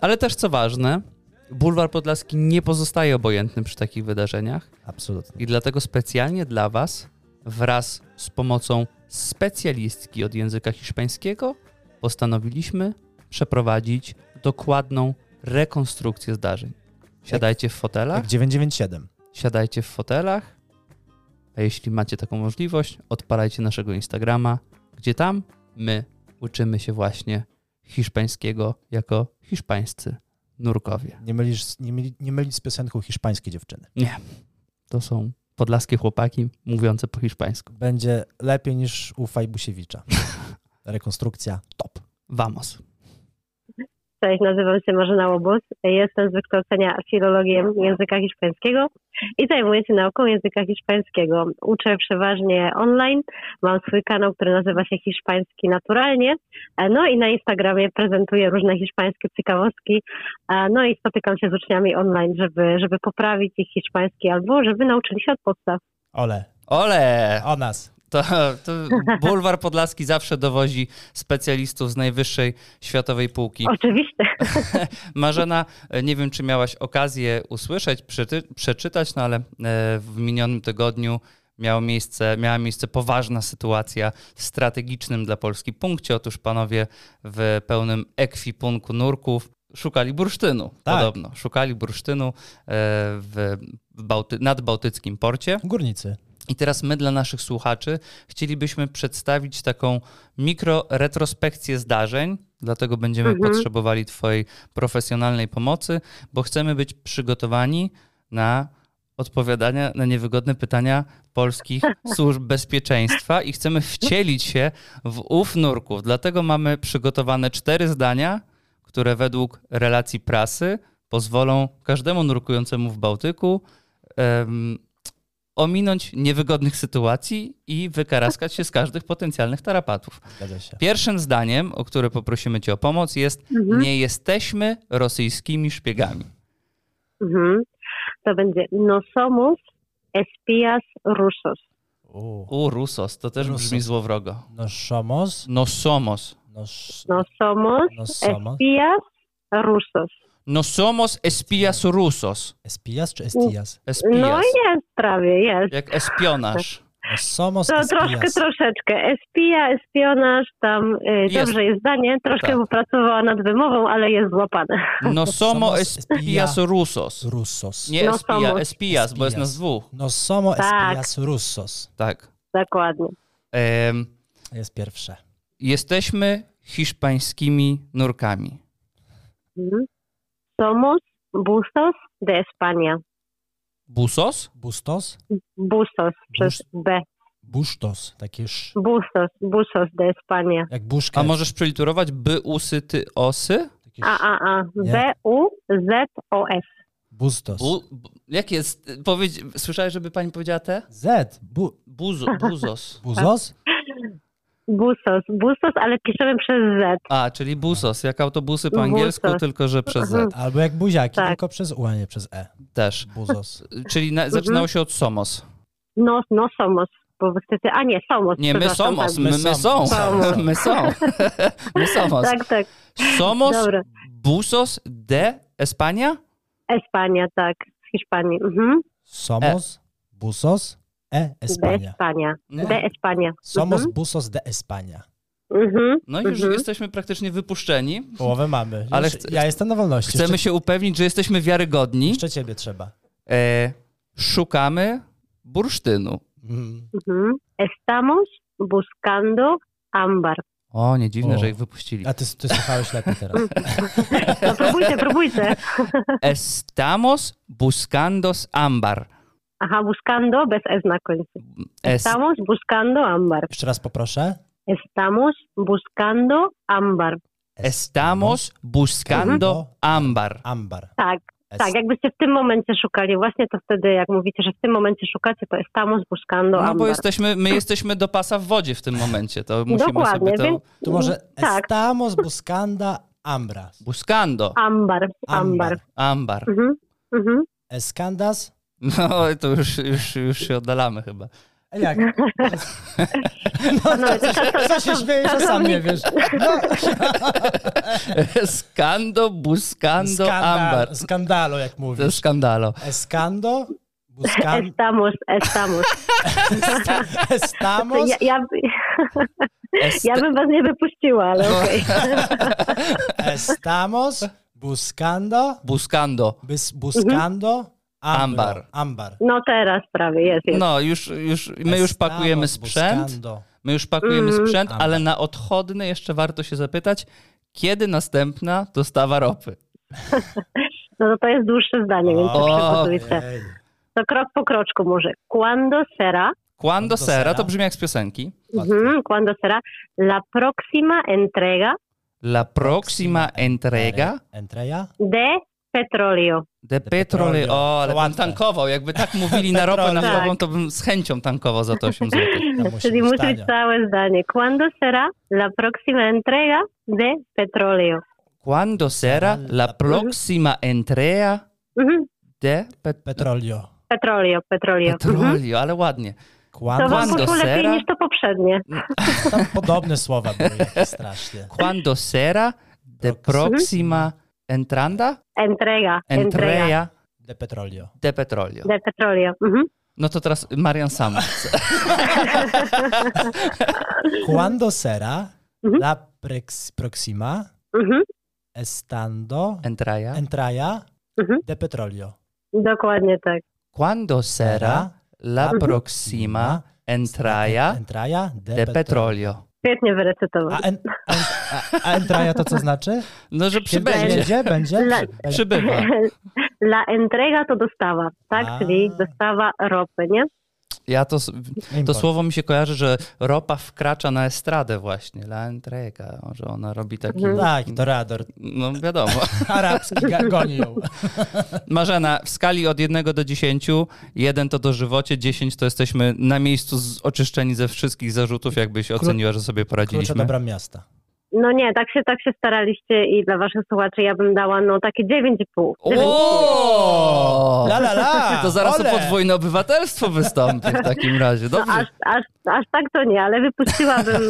Speaker 1: Ale też co ważne, Bulwar Podlaski nie pozostaje obojętny przy takich wydarzeniach
Speaker 2: Absolutnie.
Speaker 1: i dlatego specjalnie dla Was wraz z pomocą specjalistki od języka hiszpańskiego postanowiliśmy przeprowadzić dokładną rekonstrukcję zdarzeń. Siadajcie w fotelach,
Speaker 2: Tak? Jak 997.
Speaker 1: siadajcie w fotelach, a jeśli macie taką możliwość, odpalajcie naszego Instagrama, gdzie tam my uczymy się właśnie hiszpańskiego jako hiszpańscy nurkowie.
Speaker 2: Nie mylisz, nie, myli, nie mylić z piosenką hiszpańskie dziewczyny.
Speaker 1: Nie, to są podlaskie chłopaki mówiące po hiszpańsku.
Speaker 2: Będzie lepiej niż u Fajbusiewicza. Rekonstrukcja top.
Speaker 1: Vamos.
Speaker 6: Cześć, nazywam się Marzena Łobuz. Jestem z wykształcenia filologiem języka hiszpańskiego i zajmuję się nauką języka hiszpańskiego. Uczę przeważnie online. Mam swój kanał, który nazywa się Hiszpański Naturalnie. E, No i na Instagramie prezentuję różne hiszpańskie ciekawostki. E, No i spotykam się z uczniami online, żeby, żeby poprawić ich hiszpański albo żeby nauczyli się od podstaw.
Speaker 2: Ole,
Speaker 1: Ole!
Speaker 2: o nas.
Speaker 1: To, to Bulwar Podlaski zawsze dowozi specjalistów z najwyższej światowej półki.
Speaker 6: Oczywiście.
Speaker 1: Marzena, nie wiem, czy miałaś okazję usłyszeć, przyty, przeczytać, no ale e, w minionym tygodniu miało miejsce, miała miejsce poważna sytuacja w strategicznym dla Polski punkcie. Otóż panowie w pełnym ekwipunku nurków szukali bursztynu,
Speaker 2: Tak.
Speaker 1: podobno. Szukali bursztynu e, w Bałty- nadbałtyckim porcie.
Speaker 2: Górnicy.
Speaker 1: I teraz my dla naszych słuchaczy chcielibyśmy przedstawić taką mikroretrospekcję zdarzeń, dlatego będziemy potrzebowali Twojej profesjonalnej pomocy, bo chcemy być przygotowani na odpowiadania na niewygodne pytania polskich służb bezpieczeństwa i chcemy wcielić się w ów nurków. Dlatego mamy przygotowane cztery zdania, które według relacji prasy pozwolą każdemu nurkującemu w Bałtyku em, ominąć niewygodnych sytuacji i wykaraskać się z każdych potencjalnych tarapatów.
Speaker 2: Zgadza się.
Speaker 1: Pierwszym zdaniem, o które poprosimy Cię o pomoc, jest: Nie jesteśmy rosyjskimi szpiegami.
Speaker 6: Mhm. To będzie no somos espías rusos.
Speaker 2: U.
Speaker 1: U, Rusos, to też brzmi złowrogo.
Speaker 2: No szomos.
Speaker 1: No somos.
Speaker 2: No, sz...
Speaker 6: No somos
Speaker 2: no somos.
Speaker 6: espías rusos.
Speaker 1: No somos espias rusos.
Speaker 2: Espijas czy Estias?
Speaker 6: No
Speaker 1: Espias.
Speaker 6: jest prawie, jest.
Speaker 1: Jak espionaż.
Speaker 2: No somos
Speaker 6: To troszkę,
Speaker 2: Estias.
Speaker 6: troszeczkę. Espia, espionaż, tam y,
Speaker 1: Jest.
Speaker 6: dobrze jest zdanie. Troszkę
Speaker 1: Tak.
Speaker 6: popracowała nad wymową, ale jest złapane.
Speaker 1: No somos
Speaker 2: somos
Speaker 1: espias
Speaker 2: espia-
Speaker 1: rusos.
Speaker 2: Russos.
Speaker 1: Nie
Speaker 6: No
Speaker 1: espia,
Speaker 6: somos.
Speaker 1: espias, bo jest
Speaker 2: Espias.
Speaker 1: nas dwóch.
Speaker 2: No somo
Speaker 6: Tak.
Speaker 2: Estias Russos.
Speaker 1: Tak.
Speaker 6: Dokładnie.
Speaker 1: Em,
Speaker 2: Jest pierwsze.
Speaker 1: jesteśmy hiszpańskimi nurkami.
Speaker 6: Mhm. Somos busos de España.
Speaker 1: Busos?
Speaker 2: Bustos?
Speaker 6: Busos przez B.
Speaker 2: Bustos. Takie sz...
Speaker 6: Busos, busos de España.
Speaker 2: Jak
Speaker 1: A
Speaker 2: buszka.
Speaker 1: możesz przeliterować by usy ty osy?
Speaker 2: Takie
Speaker 6: A,
Speaker 2: sz...
Speaker 6: a, a.
Speaker 2: Nie.
Speaker 6: B-U-Z-O-S.
Speaker 2: Bustos.
Speaker 1: Bu, bu, jak jest? Powiedz, słyszałeś, żeby pani powiedziała te?
Speaker 2: Z. Bu...
Speaker 1: Buzo, buzos.
Speaker 2: Buzos?
Speaker 6: Tak. Busos, busos, ale piszemy przez Z.
Speaker 1: A, czyli busos, jak autobusy po angielsku,
Speaker 6: Busos.
Speaker 1: tylko że przez Z
Speaker 6: Mhm.
Speaker 2: Albo jak buziaki,
Speaker 6: Tak.
Speaker 2: tylko przez U, a nie przez E.
Speaker 1: też.
Speaker 2: Buzos.
Speaker 1: Czyli na,
Speaker 6: Mhm.
Speaker 1: zaczynało się od somos.
Speaker 6: No, no somos, bo wtedy, a nie, somos.
Speaker 1: Nie, my
Speaker 6: przepraszam,
Speaker 1: somos,
Speaker 6: tak.
Speaker 1: my, my są.
Speaker 6: Somos.
Speaker 1: My są. My somos.
Speaker 6: Tak, tak,
Speaker 1: Somos
Speaker 6: Dobra.
Speaker 1: busos de Espania?
Speaker 6: Espania, tak, z Hiszpanii. Mhm.
Speaker 2: Somos, busos, e
Speaker 6: De
Speaker 2: España.
Speaker 6: Espania,
Speaker 1: No.
Speaker 6: de Espania.
Speaker 2: Somos, busos de España.
Speaker 6: Mhm. Mhm.
Speaker 1: No i już jesteśmy praktycznie wypuszczeni.
Speaker 2: Połowę mamy.
Speaker 1: Ale
Speaker 2: Ale
Speaker 1: chce-
Speaker 2: ja jestem na wolności.
Speaker 1: Chcemy
Speaker 2: jeszcze,
Speaker 1: się upewnić, że jesteśmy wiarygodni.
Speaker 2: jeszcze ciebie trzeba.
Speaker 1: E, szukamy bursztynu.
Speaker 2: Mm.
Speaker 6: Mhm. Estamos buscando ámbar.
Speaker 1: O, nie dziwne,
Speaker 2: O.
Speaker 1: że ich wypuścili.
Speaker 2: A ty, ty słuchałeś lepiej teraz.
Speaker 6: Mhm. No próbujcie, próbujcie.
Speaker 1: Estamos buscando ámbar.
Speaker 6: Aha, buscando bez S na końcu.
Speaker 1: Es,
Speaker 6: Estamos buscando ámbar.
Speaker 2: Jeszcze raz poproszę.
Speaker 6: Estamos buscando ámbar.
Speaker 1: estamos buscando
Speaker 2: No.
Speaker 1: ámbar.
Speaker 2: Ambar.
Speaker 6: Tak,
Speaker 2: Es-
Speaker 6: tak, jakbyście w tym momencie szukali, właśnie to wtedy, jak mówicie, że w tym momencie szukacie, to estamos buscando ámbar.
Speaker 1: No bo jesteśmy, my jesteśmy do pasa w wodzie w tym momencie, to musimy
Speaker 6: Dokładnie,
Speaker 1: sobie to...
Speaker 6: więc
Speaker 2: Tu może
Speaker 6: tak,
Speaker 2: estamos buscando ambra.
Speaker 1: Buscando
Speaker 6: ambar, ambar.
Speaker 2: Ambar.
Speaker 1: ámbar.
Speaker 6: Mhm, mhm.
Speaker 2: Escandas.
Speaker 1: No to już, już, już się oddalamy chyba.
Speaker 2: E, Jak? No,
Speaker 6: No, to
Speaker 2: co, co się śmiejesz, a sam nie wiesz. No,
Speaker 1: Skando, buscando, ámbar.
Speaker 2: skandal, skandalu, jak
Speaker 1: To
Speaker 2: mówisz.
Speaker 1: skandalo.
Speaker 2: Escando, buscan,
Speaker 6: Estamos, estamos.
Speaker 2: estamos,
Speaker 6: Ja, ja,
Speaker 1: Est-
Speaker 6: ja bym was nie wypuściła, ale okej.
Speaker 2: estamos buscando,
Speaker 1: Buscando.
Speaker 2: bus, buscando ambro,
Speaker 1: Mhm. Ambar.
Speaker 2: Ambar.
Speaker 6: No teraz prawie, jest, jest.
Speaker 1: No, już, już, my już
Speaker 2: Estamos
Speaker 1: pakujemy sprzęt.
Speaker 2: buscando.
Speaker 1: My już pakujemy
Speaker 6: Mm.
Speaker 1: sprzęt,
Speaker 2: Amber.
Speaker 1: ale na odchodny jeszcze warto się zapytać, kiedy następna dostawa ropy?
Speaker 6: No to, to jest dłuższe zdanie, więc to
Speaker 1: O,
Speaker 6: przygotujcie.
Speaker 2: Ej,
Speaker 6: To krok po kroczku może. Cuando será,
Speaker 1: Quando
Speaker 2: Quando
Speaker 1: sera,
Speaker 2: sera?
Speaker 1: to brzmi jak z piosenki.
Speaker 6: mhm, cuando será la próxima entrega
Speaker 1: La proxima entrega
Speaker 2: Entreja?
Speaker 6: de petróleo.
Speaker 1: de petroleo. O, ale
Speaker 2: To
Speaker 1: pan
Speaker 2: łatwe.
Speaker 1: tankował. Jakby tak mówili na ropę
Speaker 2: Petroleo.
Speaker 1: naftową, to bym z chęcią tankował za to 8 zł.
Speaker 2: To musi
Speaker 6: Czyli
Speaker 2: być
Speaker 6: musi być
Speaker 2: tanio.
Speaker 6: całe zdanie. Cuando será la próxima entrega de petróleo?
Speaker 1: Quando sera la proxima entrega
Speaker 6: Mhm.
Speaker 1: de pet
Speaker 2: Petrolio.
Speaker 6: Petróleo, petróleo. Mhm.
Speaker 1: petroleo. Ale ładnie.
Speaker 6: To
Speaker 2: Cuando,
Speaker 1: Kłan
Speaker 6: wam
Speaker 1: do
Speaker 6: poszło lepiej
Speaker 1: sera?
Speaker 6: niż to poprzednie.
Speaker 2: tam podobne słowa były jakieś strasznie.
Speaker 1: Cuando sera de próxima entranda?
Speaker 6: Entrega. Entrega.
Speaker 1: Entrega
Speaker 2: De petrolio.
Speaker 1: de petróleo.
Speaker 6: De petrolio. Mhm.
Speaker 1: No to teraz Marian sam.
Speaker 2: Cuando será
Speaker 6: Mhm.
Speaker 2: la prex- próxima
Speaker 6: Mhm.
Speaker 2: estando
Speaker 1: Entraja.
Speaker 2: entraya
Speaker 6: Mhm.
Speaker 2: de petrolio?
Speaker 6: Dokładnie tak.
Speaker 1: Cuando sera la
Speaker 2: Mhm.
Speaker 1: próxima entraja
Speaker 2: Entraya de,
Speaker 1: de
Speaker 2: petrolio.
Speaker 1: petróleo?
Speaker 6: Świetnie wyrecytował.
Speaker 2: A, e- en, en, a, a entraya to co znaczy?
Speaker 1: No, że przybędzie.
Speaker 2: Będzie, będzie.
Speaker 6: La-
Speaker 2: będzie.
Speaker 1: Przybywa.
Speaker 6: La entrega to dostawa, tak?
Speaker 2: A.
Speaker 6: Czyli dostawa ropy, nie?
Speaker 1: Ja to, s- to
Speaker 2: Import.
Speaker 1: słowo mi się kojarzy, że ropa wkracza na estradę właśnie. La entrega, że ona robi taki...
Speaker 6: Mhm.
Speaker 2: Tak, Torador.
Speaker 1: No wiadomo.
Speaker 2: Arabski ga- goni ją.
Speaker 1: Marzena, w skali od 1 do 10, 1 to dożywocie, 10 to jesteśmy na miejscu z, oczyszczeni ze wszystkich zarzutów, jakbyś oceniła, że sobie
Speaker 2: Klucze
Speaker 1: poradziliśmy.
Speaker 2: dobra miasta.
Speaker 6: No nie, tak się, tak się staraliście i dla waszych słuchaczy ja bym dała no takie 9,5.
Speaker 1: O!
Speaker 2: La, la, la!
Speaker 1: To zaraz
Speaker 2: Ole!
Speaker 1: o podwójne obywatelstwo wystąpi w takim razie.
Speaker 6: No,
Speaker 1: Dobrze.
Speaker 6: aż, aż, aż tak to nie, ale wypuściłabym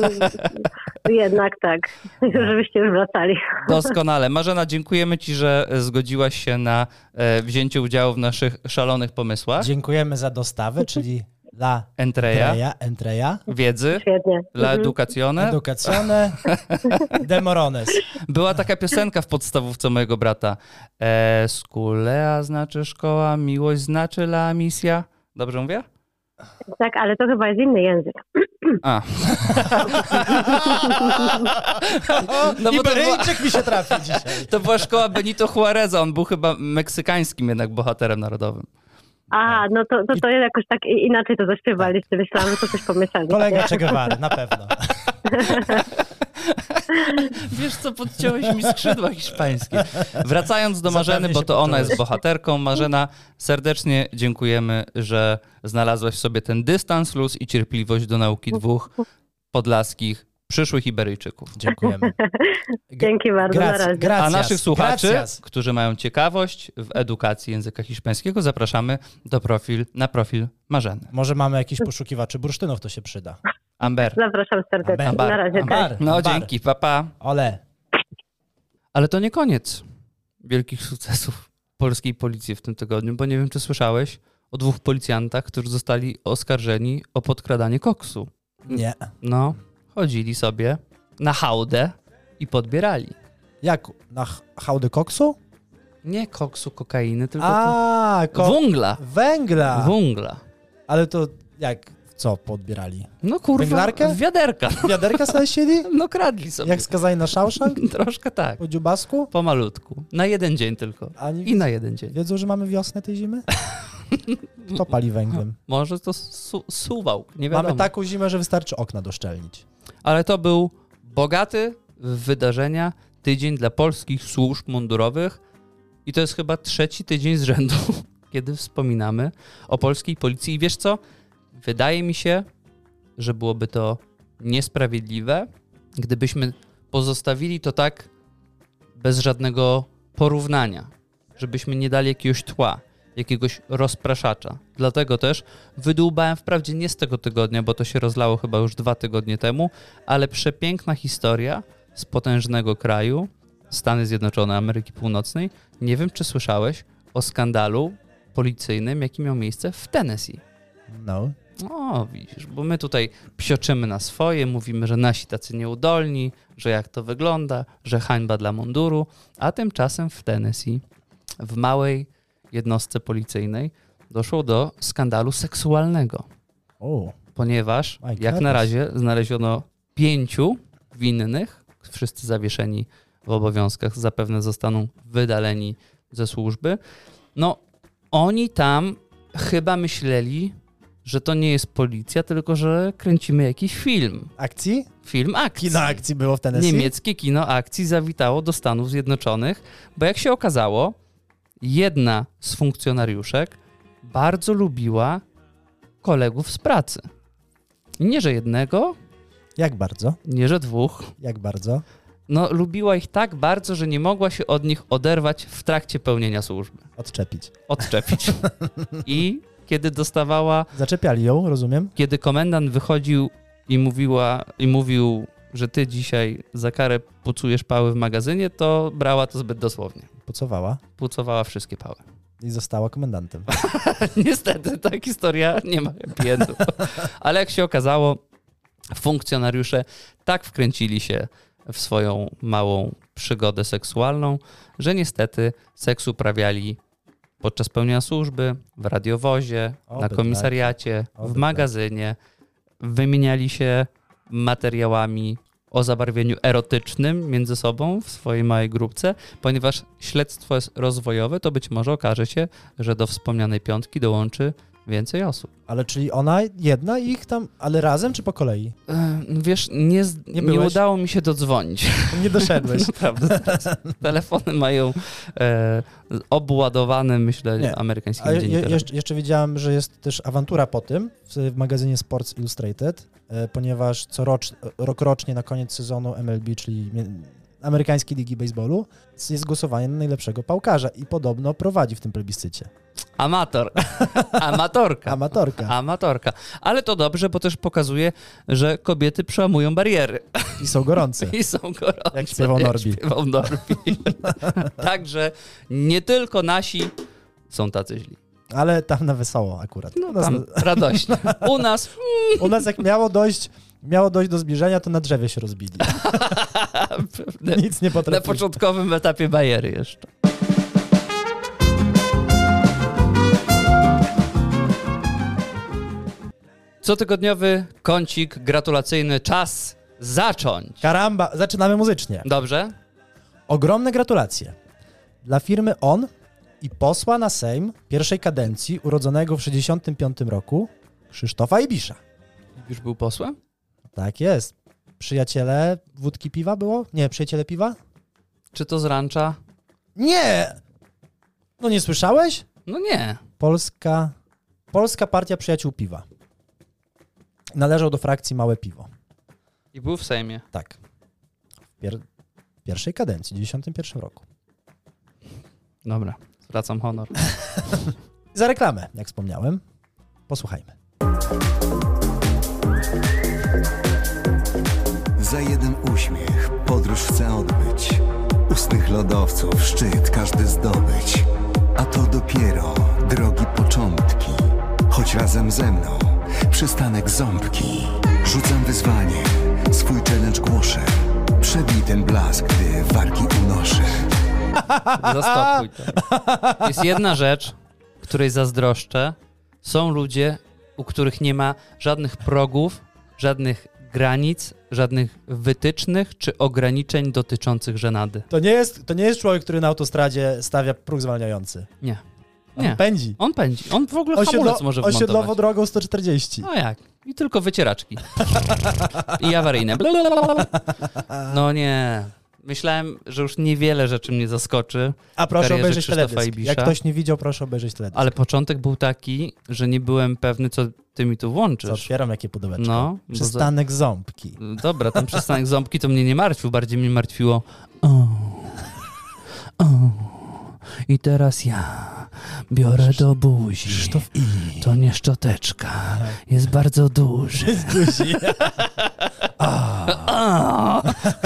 Speaker 6: jednak tak,
Speaker 2: No.
Speaker 6: żebyście już wracali.
Speaker 1: Doskonale. Marzena, dziękujemy Ci, że e, zgodziłaś się na e, wzięcie udziału w naszych szalonych pomysłach.
Speaker 2: Dziękujemy za dostawę, czyli la
Speaker 1: Entreja, E?
Speaker 2: entreja, entreja
Speaker 1: wiedzy,
Speaker 6: Świetnie.
Speaker 1: la
Speaker 6: Mhm.
Speaker 1: educazione.
Speaker 2: educazione de morones.
Speaker 1: Była taka piosenka w podstawówce mojego brata. E, skulea znaczy szkoła, miłość znaczy la misja. Dobrze mówię?
Speaker 6: Tak, ale to chyba jest inny język.
Speaker 1: A. No bo to była,
Speaker 2: Iberyjczyk mi się trafi dzisiaj.
Speaker 1: to była szkoła Benito Juareza. On był chyba meksykańskim jednak bohaterem narodowym.
Speaker 6: Aha, no to, to, to jakoś tak i- inaczej to zaśpiewaliście. Myślałam, że to coś pomieszali.
Speaker 2: Tak. Kolega Che Guevary, na pewno.
Speaker 1: Wiesz co, podciąłeś mi skrzydła hiszpańskie. Wracając do Marzeny,
Speaker 2: Zabawnie
Speaker 1: bo
Speaker 2: się
Speaker 1: to ona
Speaker 2: poczułeś.
Speaker 1: jest bohaterką. Marzena, serdecznie dziękujemy, że znalazłaś w sobie ten dystans, luz i cierpliwość do nauki dwóch podlaskich przyszłych Iberyjczyków.
Speaker 2: Dziękujemy.
Speaker 6: Dzięki bardzo, na razie.
Speaker 1: A naszych słuchaczy, którzy mają ciekawość w edukacji języka hiszpańskiego, zapraszamy do profil, na profil Marzeny.
Speaker 2: Może mamy jakichś poszukiwaczy bursztynów, to się przyda.
Speaker 1: Amber.
Speaker 6: Zapraszam serdecznie.
Speaker 2: Ambar,
Speaker 6: Na razie,
Speaker 2: ambar.
Speaker 6: tak.
Speaker 1: No
Speaker 2: Amber.
Speaker 1: dzięki, papa. Pa.
Speaker 2: Ole,
Speaker 1: Ale to nie koniec wielkich sukcesów polskiej policji w tym tygodniu, bo nie wiem, czy słyszałeś o dwóch policjantach, którzy zostali oskarżeni o podkradanie koksu.
Speaker 2: nie.
Speaker 1: No, chodzili sobie na hałdę i podbierali.
Speaker 2: Jak? Na ch- hałdy koksu?
Speaker 1: Nie koksu, kokainy, tylko
Speaker 2: A,
Speaker 1: ko-
Speaker 2: ko-
Speaker 1: węgla.
Speaker 2: węgla.
Speaker 1: Węgla.
Speaker 2: Ale to jak? Co podbierali?
Speaker 1: No kurwa,
Speaker 2: Węglarkę?
Speaker 1: wiaderka.
Speaker 2: Wiaderka sobie siedzi?
Speaker 1: No kradli sobie.
Speaker 2: Jak skazali na szałszank?
Speaker 1: Troszkę tak.
Speaker 2: Po dziubasku?
Speaker 1: Pomalutku. Na jeden dzień tylko.
Speaker 2: Ani-
Speaker 1: I na jeden dzień.
Speaker 2: Wiedzą, że mamy wiosnę tej zimy? Kto pali węglem?
Speaker 1: Może to su- suwał, nie wiadomo.
Speaker 2: Mamy taką zimę, że wystarczy okna doszczelnić.
Speaker 1: Ale to był bogaty w wydarzenia tydzień dla polskich służb mundurowych i to jest chyba trzeci tydzień z rzędu, kiedy wspominamy o polskiej policji. I wiesz co? Wydaje mi się, że byłoby to niesprawiedliwe, gdybyśmy pozostawili to tak bez żadnego porównania, żebyśmy nie dali jakiegoś tła, jakiegoś rozpraszacza. Dlatego też wydłubałem, wprawdzie nie z tego tygodnia, bo to się rozlało chyba już dwa tygodnie temu, ale przepiękna historia z potężnego kraju, Stany Zjednoczone Ameryki Północnej. Nie wiem, czy słyszałeś o skandalu policyjnym, jaki miał miejsce w Tennessee.
Speaker 2: No.
Speaker 1: O, widzisz, bo my tutaj psioczymy na swoje, mówimy, że nasi tacy nieudolni, że jak to wygląda, że hańba dla munduru, a tymczasem w Tennessee, w małej jednostce policyjnej, doszło do skandalu seksualnego,
Speaker 2: O,
Speaker 1: ponieważ
Speaker 2: My
Speaker 1: jak na
Speaker 2: goodness.
Speaker 1: razie znaleziono pięciu winnych, wszyscy zawieszeni w obowiązkach, zapewne zostaną wydaleni ze służby. No, oni tam chyba myśleli, że to nie jest policja, tylko że kręcimy jakiś film.
Speaker 2: akcji?
Speaker 1: Film akcji.
Speaker 2: Kino akcji było w Tennessee?
Speaker 1: Niemieckie kino akcji zawitało do Stanów Zjednoczonych, bo jak się okazało, jedna z funkcjonariuszek bardzo lubiła kolegów z pracy. Nie, że jednego,
Speaker 2: Jak bardzo?
Speaker 1: nie, że dwóch.
Speaker 2: Jak bardzo?
Speaker 1: No, lubiła ich tak bardzo, że nie mogła się od nich oderwać w trakcie pełnienia służby.
Speaker 2: Odczepić.
Speaker 1: Odczepić. I kiedy dostawała,
Speaker 2: Zaczepiali ją, rozumiem?
Speaker 1: kiedy komendant wychodził i mówiła, i mówił, że ty dzisiaj za karę pucujesz pały w magazynie, to brała to zbyt dosłownie.
Speaker 2: Pocowała
Speaker 1: Pucowała wszystkie pały.
Speaker 2: i została komendantem.
Speaker 1: Niestety ta historia nie ma happy endu. Ale jak się okazało, funkcjonariusze tak wkręcili się w swoją małą przygodę seksualną, że niestety seks uprawiali podczas pełnienia służby, w radiowozie,
Speaker 2: Oby
Speaker 1: na
Speaker 2: tak.
Speaker 1: komisariacie,
Speaker 2: Oby
Speaker 1: w
Speaker 2: tak.
Speaker 1: magazynie. Wymieniali się materiałami o zabarwieniu erotycznym między sobą w swojej małej grupce, ponieważ śledztwo jest rozwojowe, to być może okaże się, że do wspomnianej piątki dołączy więcej osób.
Speaker 2: Ale czyli ona jedna i ich tam, ale razem czy po kolei?
Speaker 1: E, Wiesz, nie, z-
Speaker 2: Nie
Speaker 1: nie,
Speaker 2: byłeś?
Speaker 1: udało mi się dodzwonić.
Speaker 2: Nie doszedłeś.
Speaker 1: Naprawdę. teraz Telefony mają e, obładowane, myślę,
Speaker 2: Nie.
Speaker 1: amerykańskim
Speaker 2: A je,
Speaker 1: dziennikarzem.
Speaker 2: jeszcze, jeszcze widziałem, że jest też awantura po tym w, w magazynie Sports Illustrated, e, ponieważ corocz, rokrocznie na koniec sezonu MLB, czyli mie- amerykańskiej ligi baseballu, jest głosowanie na najlepszego pałkarza i podobno prowadzi w tym plebiscycie.
Speaker 1: Amator. Amatorka.
Speaker 2: Amatorka.
Speaker 1: Amatorka. Ale to dobrze, bo też pokazuje, że kobiety przełamują bariery
Speaker 2: I są gorące.
Speaker 1: i są gorące.
Speaker 2: Jak śpiewał Norbi.
Speaker 1: Jak śpiewał Norbi. Także nie tylko nasi są tacy źli.
Speaker 2: Ale tam na wesoło akurat. U nas,
Speaker 1: No Tam radośnie. U nas mm,
Speaker 2: u nas jak miało dojść, miało dojść do zbliżenia, to na drzewie się rozbili.
Speaker 1: na,
Speaker 2: Nic nie
Speaker 1: na
Speaker 2: potrafili.
Speaker 1: początkowym etapie bariery jeszcze. Cotygodniowy kącik gratulacyjny. Czas zacząć.
Speaker 2: Karamba, zaczynamy muzycznie.
Speaker 1: Dobrze?
Speaker 2: Ogromne gratulacje dla firmy ON i posła na Sejm pierwszej kadencji urodzonego w 65 roku Krzysztofa Ibisza.
Speaker 1: Już był posłem?
Speaker 2: Tak jest. Przyjaciele wódki piwa było? Nie, przyjaciele piwa?
Speaker 1: Czy to z rancza?
Speaker 2: Nie! No nie słyszałeś?
Speaker 1: No nie.
Speaker 2: Polska, Polska Partia Przyjaciół Piwa. Należał do frakcji Małe Piwo.
Speaker 1: I był w Sejmie.
Speaker 2: Tak. W pier- pierwszej kadencji, w 91 roku.
Speaker 1: Dobra, zwracam honor.
Speaker 2: Za reklamę, jak wspomniałem. Posłuchajmy.
Speaker 7: Za jeden uśmiech podróż chcę odbyć. Ustnych lodowców szczyt każdy zdobyć. A to dopiero drogi początki. Choć razem ze mną przystanek ząbki. Rzucam wyzwanie, swój challenge głoszę. Przebij ten blask, gdy wargi unoszę.
Speaker 1: Zastopuj to. Jest jedna rzecz, której zazdroszczę. Są ludzie, u których nie ma żadnych progów, żadnych granic, żadnych wytycznych czy ograniczeń dotyczących żenady.
Speaker 2: To nie, jest, to nie jest człowiek, który na autostradzie stawia próg zwalniający.
Speaker 1: Nie.
Speaker 2: On
Speaker 1: Nie.
Speaker 2: pędzi.
Speaker 1: On pędzi. On w ogóle
Speaker 2: Osiedlo,
Speaker 1: hamulec może
Speaker 2: osiedlowo
Speaker 1: wmontować.
Speaker 2: drogą 140.
Speaker 1: No jak? I tylko wycieraczki. I awaryjne. Blablabla. No nie. Myślałem, że już niewiele rzeczy mnie zaskoczy.
Speaker 2: A proszę
Speaker 1: karierze
Speaker 2: obejrzeć
Speaker 1: Krzysztofa
Speaker 2: teledysk.
Speaker 1: Ibisza.
Speaker 2: Jak ktoś nie widział, proszę obejrzeć teledysk.
Speaker 1: Ale początek był taki, że nie byłem pewny, co ty mi tu
Speaker 2: Co,
Speaker 1: włączysz.
Speaker 2: otwieram jakie pudełeczko.
Speaker 1: No, bo za- No.
Speaker 2: Przystanek ząbki.
Speaker 1: Dobra, ten przystanek ząbki to mnie nie martwił, bardziej mnie martwiło. O, o, I teraz ja biorę do buzi. To nie szczoteczka. Jest bardzo duży. Jest duży.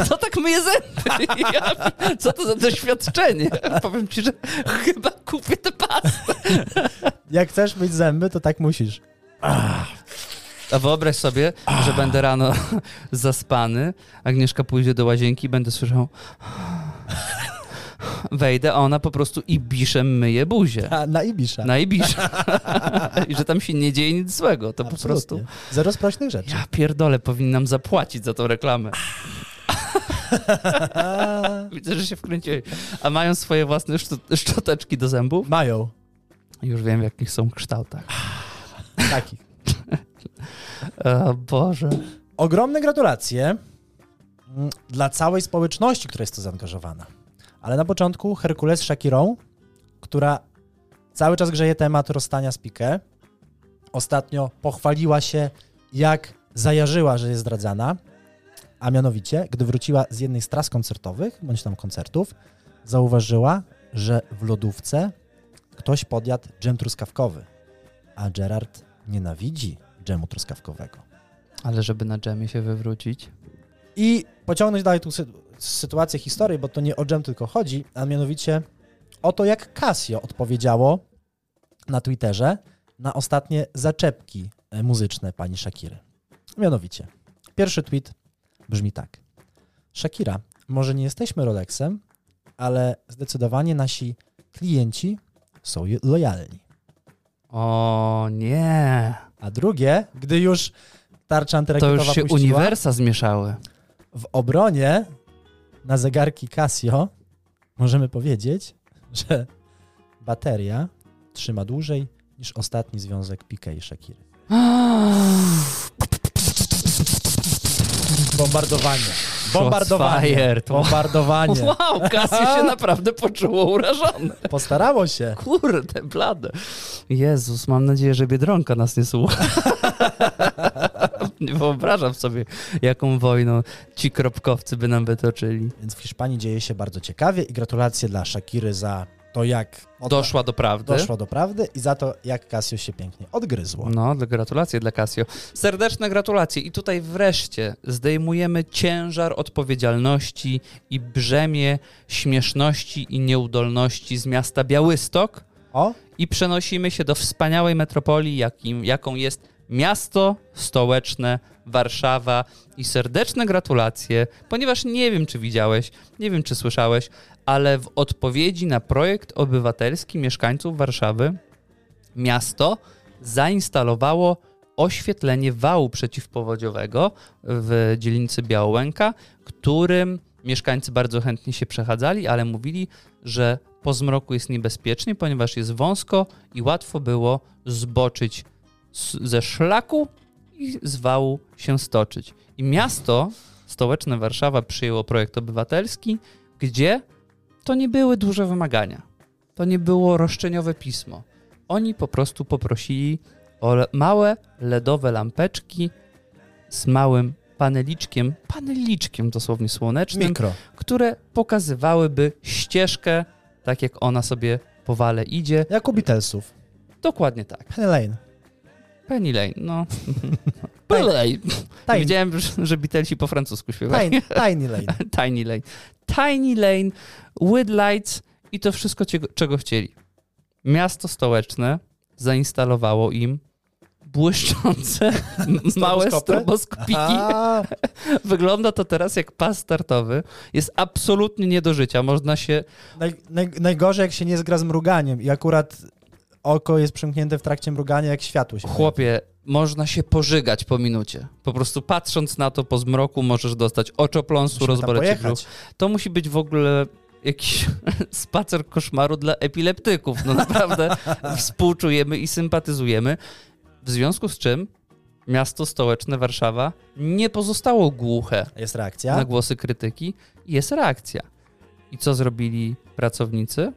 Speaker 1: Kto tak myje zęby? Ja, co to za doświadczenie? Powiem ci, że chyba kupię tę pastę.
Speaker 2: Jak chcesz mieć zęby, to tak musisz.
Speaker 1: A wyobraź sobie, że będę rano zaspany, Agnieszka pójdzie do łazienki i będę słyszał wejdę, a ona po prostu ibiszem myje buzię.
Speaker 2: A, na Ibisza.
Speaker 1: Na ibisz. I że tam się nie dzieje nic złego. To po prostu...
Speaker 2: Zero sprośnych rzeczy.
Speaker 1: Ja pierdolę, powinnam zapłacić za tą reklamę. Widzę, że się wkręciłeś. A mają swoje własne szczo- szczoteczki do zębów?
Speaker 2: Mają
Speaker 1: Już wiem, w jakich są kształtach.
Speaker 2: takich.
Speaker 1: O E, Boże.
Speaker 2: Ogromne gratulacje mm, dla całej społeczności, która jest tu zaangażowana. Ale na początku Herkules Shakirą, która cały czas grzeje temat rozstania z Piqué. Ostatnio pochwaliła się, jak zajarzyła, że jest zdradzana. A mianowicie, gdy wróciła z jednej z tras koncertowych, bądź tam koncertów, zauważyła, że w lodówce ktoś podjadł dżem truskawkowy. a Gerard nienawidzi dżemu truskawkowego.
Speaker 1: Ale żeby na dżemie się wywrócić.
Speaker 2: I pociągnąć dalej tą sy- sytuację historii, bo to nie o dżem tylko chodzi, a mianowicie o to, jak Casio odpowiedziało na Twitterze na ostatnie zaczepki e, muzyczne pani Shakiry. Mianowicie, pierwszy tweet brzmi tak. Shakira, może nie jesteśmy Rolexem, ale zdecydowanie nasi klienci są ju- lojalni.
Speaker 1: O nie.
Speaker 2: A drugie, gdy już tarcza
Speaker 1: To
Speaker 2: antyrakietowa
Speaker 1: już się
Speaker 2: puściła,
Speaker 1: uniwersa zmieszały.
Speaker 2: w obronie na zegarki Casio możemy powiedzieć, że bateria trzyma dłużej niż ostatni związek Piqué i Shakiry. Bombardowanie. Bombardowanie.
Speaker 1: fired.
Speaker 2: Bombardowanie.
Speaker 1: Wow, Kasio się naprawdę poczuło urażone.
Speaker 2: Postarało się.
Speaker 1: Kurde, blade. Jezus, mam nadzieję, że Biedronka nas nie słucha. nie wyobrażam sobie, jaką wojną ci kropkowcy by nam wytoczyli.
Speaker 2: Więc w Hiszpanii dzieje się bardzo ciekawie i gratulacje dla Shakiry za to, jak od-
Speaker 1: Doszła do prawdy.
Speaker 2: tak. doszła do prawdy i za to, jak Casio się pięknie odgryzło.
Speaker 1: No, dla- gratulacje dla Casio. Serdeczne gratulacje. I tutaj wreszcie zdejmujemy ciężar odpowiedzialności i brzemię śmieszności i nieudolności z miasta Białystok
Speaker 2: O,
Speaker 1: i przenosimy się do wspaniałej metropolii, jakim, jaką jest miasto stołeczne Warszawa. I serdeczne gratulacje, ponieważ nie wiem, czy widziałeś, nie wiem, czy słyszałeś, ale w odpowiedzi na projekt obywatelski mieszkańców Warszawy miasto zainstalowało oświetlenie wału przeciwpowodziowego w dzielnicy Białołęka, którym mieszkańcy bardzo chętnie się przechadzali, ale mówili, że po zmroku jest niebezpiecznie, ponieważ jest wąsko i łatwo było zboczyć s- ze szlaku i z wału się stoczyć. I miasto stołeczne Warszawa przyjęło projekt obywatelski, gdzie to nie były duże wymagania. To nie było roszczeniowe pismo. Oni po prostu poprosili o le- małe LEDowe lampeczki z małym paneliczkiem, paneliczkiem dosłownie słonecznym,
Speaker 2: mikro.
Speaker 1: które pokazywałyby ścieżkę, tak jak ona sobie po wale idzie.
Speaker 2: Jak u Beatlesów.
Speaker 1: Dokładnie tak.
Speaker 2: Penny Lane.
Speaker 1: Penny Lane, no.
Speaker 2: Tiny-
Speaker 1: Penny Lane.
Speaker 2: Tiny,
Speaker 1: Widziałem, że- że Beatlesi po francusku śpiewają.
Speaker 2: tiny, tiny Lane.
Speaker 1: Tiny Lane. Tiny Lane, with lights i to wszystko, ciego- czego chcieli. Miasto stołeczne zainstalowało im błyszczące m- małe
Speaker 2: Stroboskopy?
Speaker 1: stroboskopiki.
Speaker 2: A,
Speaker 1: Wygląda to teraz jak pas startowy. Jest absolutnie nie do życia. Można się
Speaker 2: naj, naj, najgorzej, jak się nie zgra z mruganiem i akurat oko jest przymknięte w trakcie mrugania, jak światło się
Speaker 1: Chłopie, można się pożygać po minucie. Po prostu patrząc na to po zmroku możesz dostać oczopląsu,
Speaker 2: Musimy tam
Speaker 1: rozbolecie
Speaker 2: pojechać.
Speaker 1: brzuch. To musi być w ogóle jakiś spacer koszmaru dla epileptyków. No naprawdę współczujemy i sympatyzujemy. W związku z czym miasto stołeczne Warszawa nie pozostało głuche
Speaker 2: Jest reakcja.
Speaker 1: na głosy krytyki i jest reakcja. I co zrobili pracownicy?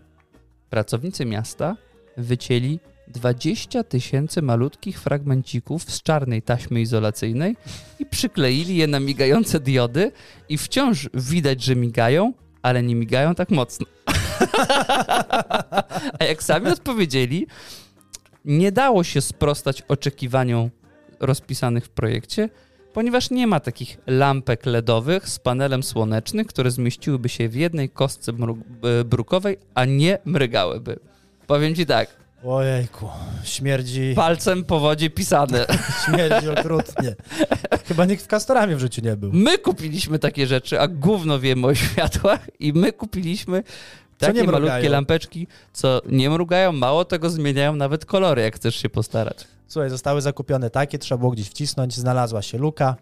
Speaker 1: Pracownicy miasta wycięli 20 tysięcy malutkich fragmencików z czarnej taśmy izolacyjnej i przykleili je na migające diody i wciąż widać, że migają, ale nie migają tak mocno. A jak sami odpowiedzieli, nie dało się sprostać oczekiwaniom rozpisanych w projekcie, ponieważ nie ma takich lampek LEDowych z panelem słonecznym, które zmieściłyby się w jednej kostce mru- e, brukowej, a nie mrygałyby. Powiem ci tak,
Speaker 2: Ojejku, śmierdzi,
Speaker 1: palcem po wodzie pisane.
Speaker 2: śmierdzi okrutnie. Chyba nikt w Kastoramie w życiu nie był.
Speaker 1: My kupiliśmy takie rzeczy, a gówno wiemy o światłach i my kupiliśmy takie
Speaker 2: nie mrugają.
Speaker 1: malutkie lampeczki, co nie mrugają, mało tego zmieniają nawet kolory, jak chcesz się postarać.
Speaker 2: Słuchaj, zostały zakupione takie, trzeba było gdzieś wcisnąć, znalazła się luka,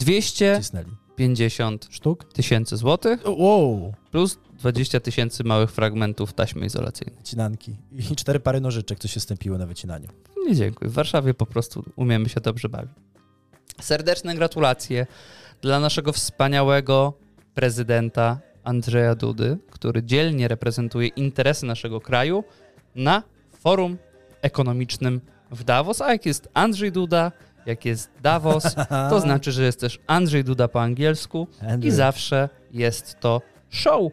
Speaker 1: 250
Speaker 2: wcisnęli. Sztuk?
Speaker 1: tysięcy złotych
Speaker 2: Wow,
Speaker 1: plus 20 tysięcy małych fragmentów taśmy izolacyjnej.
Speaker 2: wycinanki. I cztery pary nożyczek, co się stępiły na wycinaniu.
Speaker 1: Nie dziękuję. W Warszawie po prostu umiemy się dobrze bawić. Serdeczne gratulacje dla naszego wspaniałego prezydenta Andrzeja Dudy, który dzielnie reprezentuje interesy naszego kraju na forum ekonomicznym w Davos. A jak jest Andrzej Duda, jak jest Davos, to znaczy, że jest też Andrzej Duda po angielsku i
Speaker 2: Andrew.
Speaker 1: zawsze jest to show.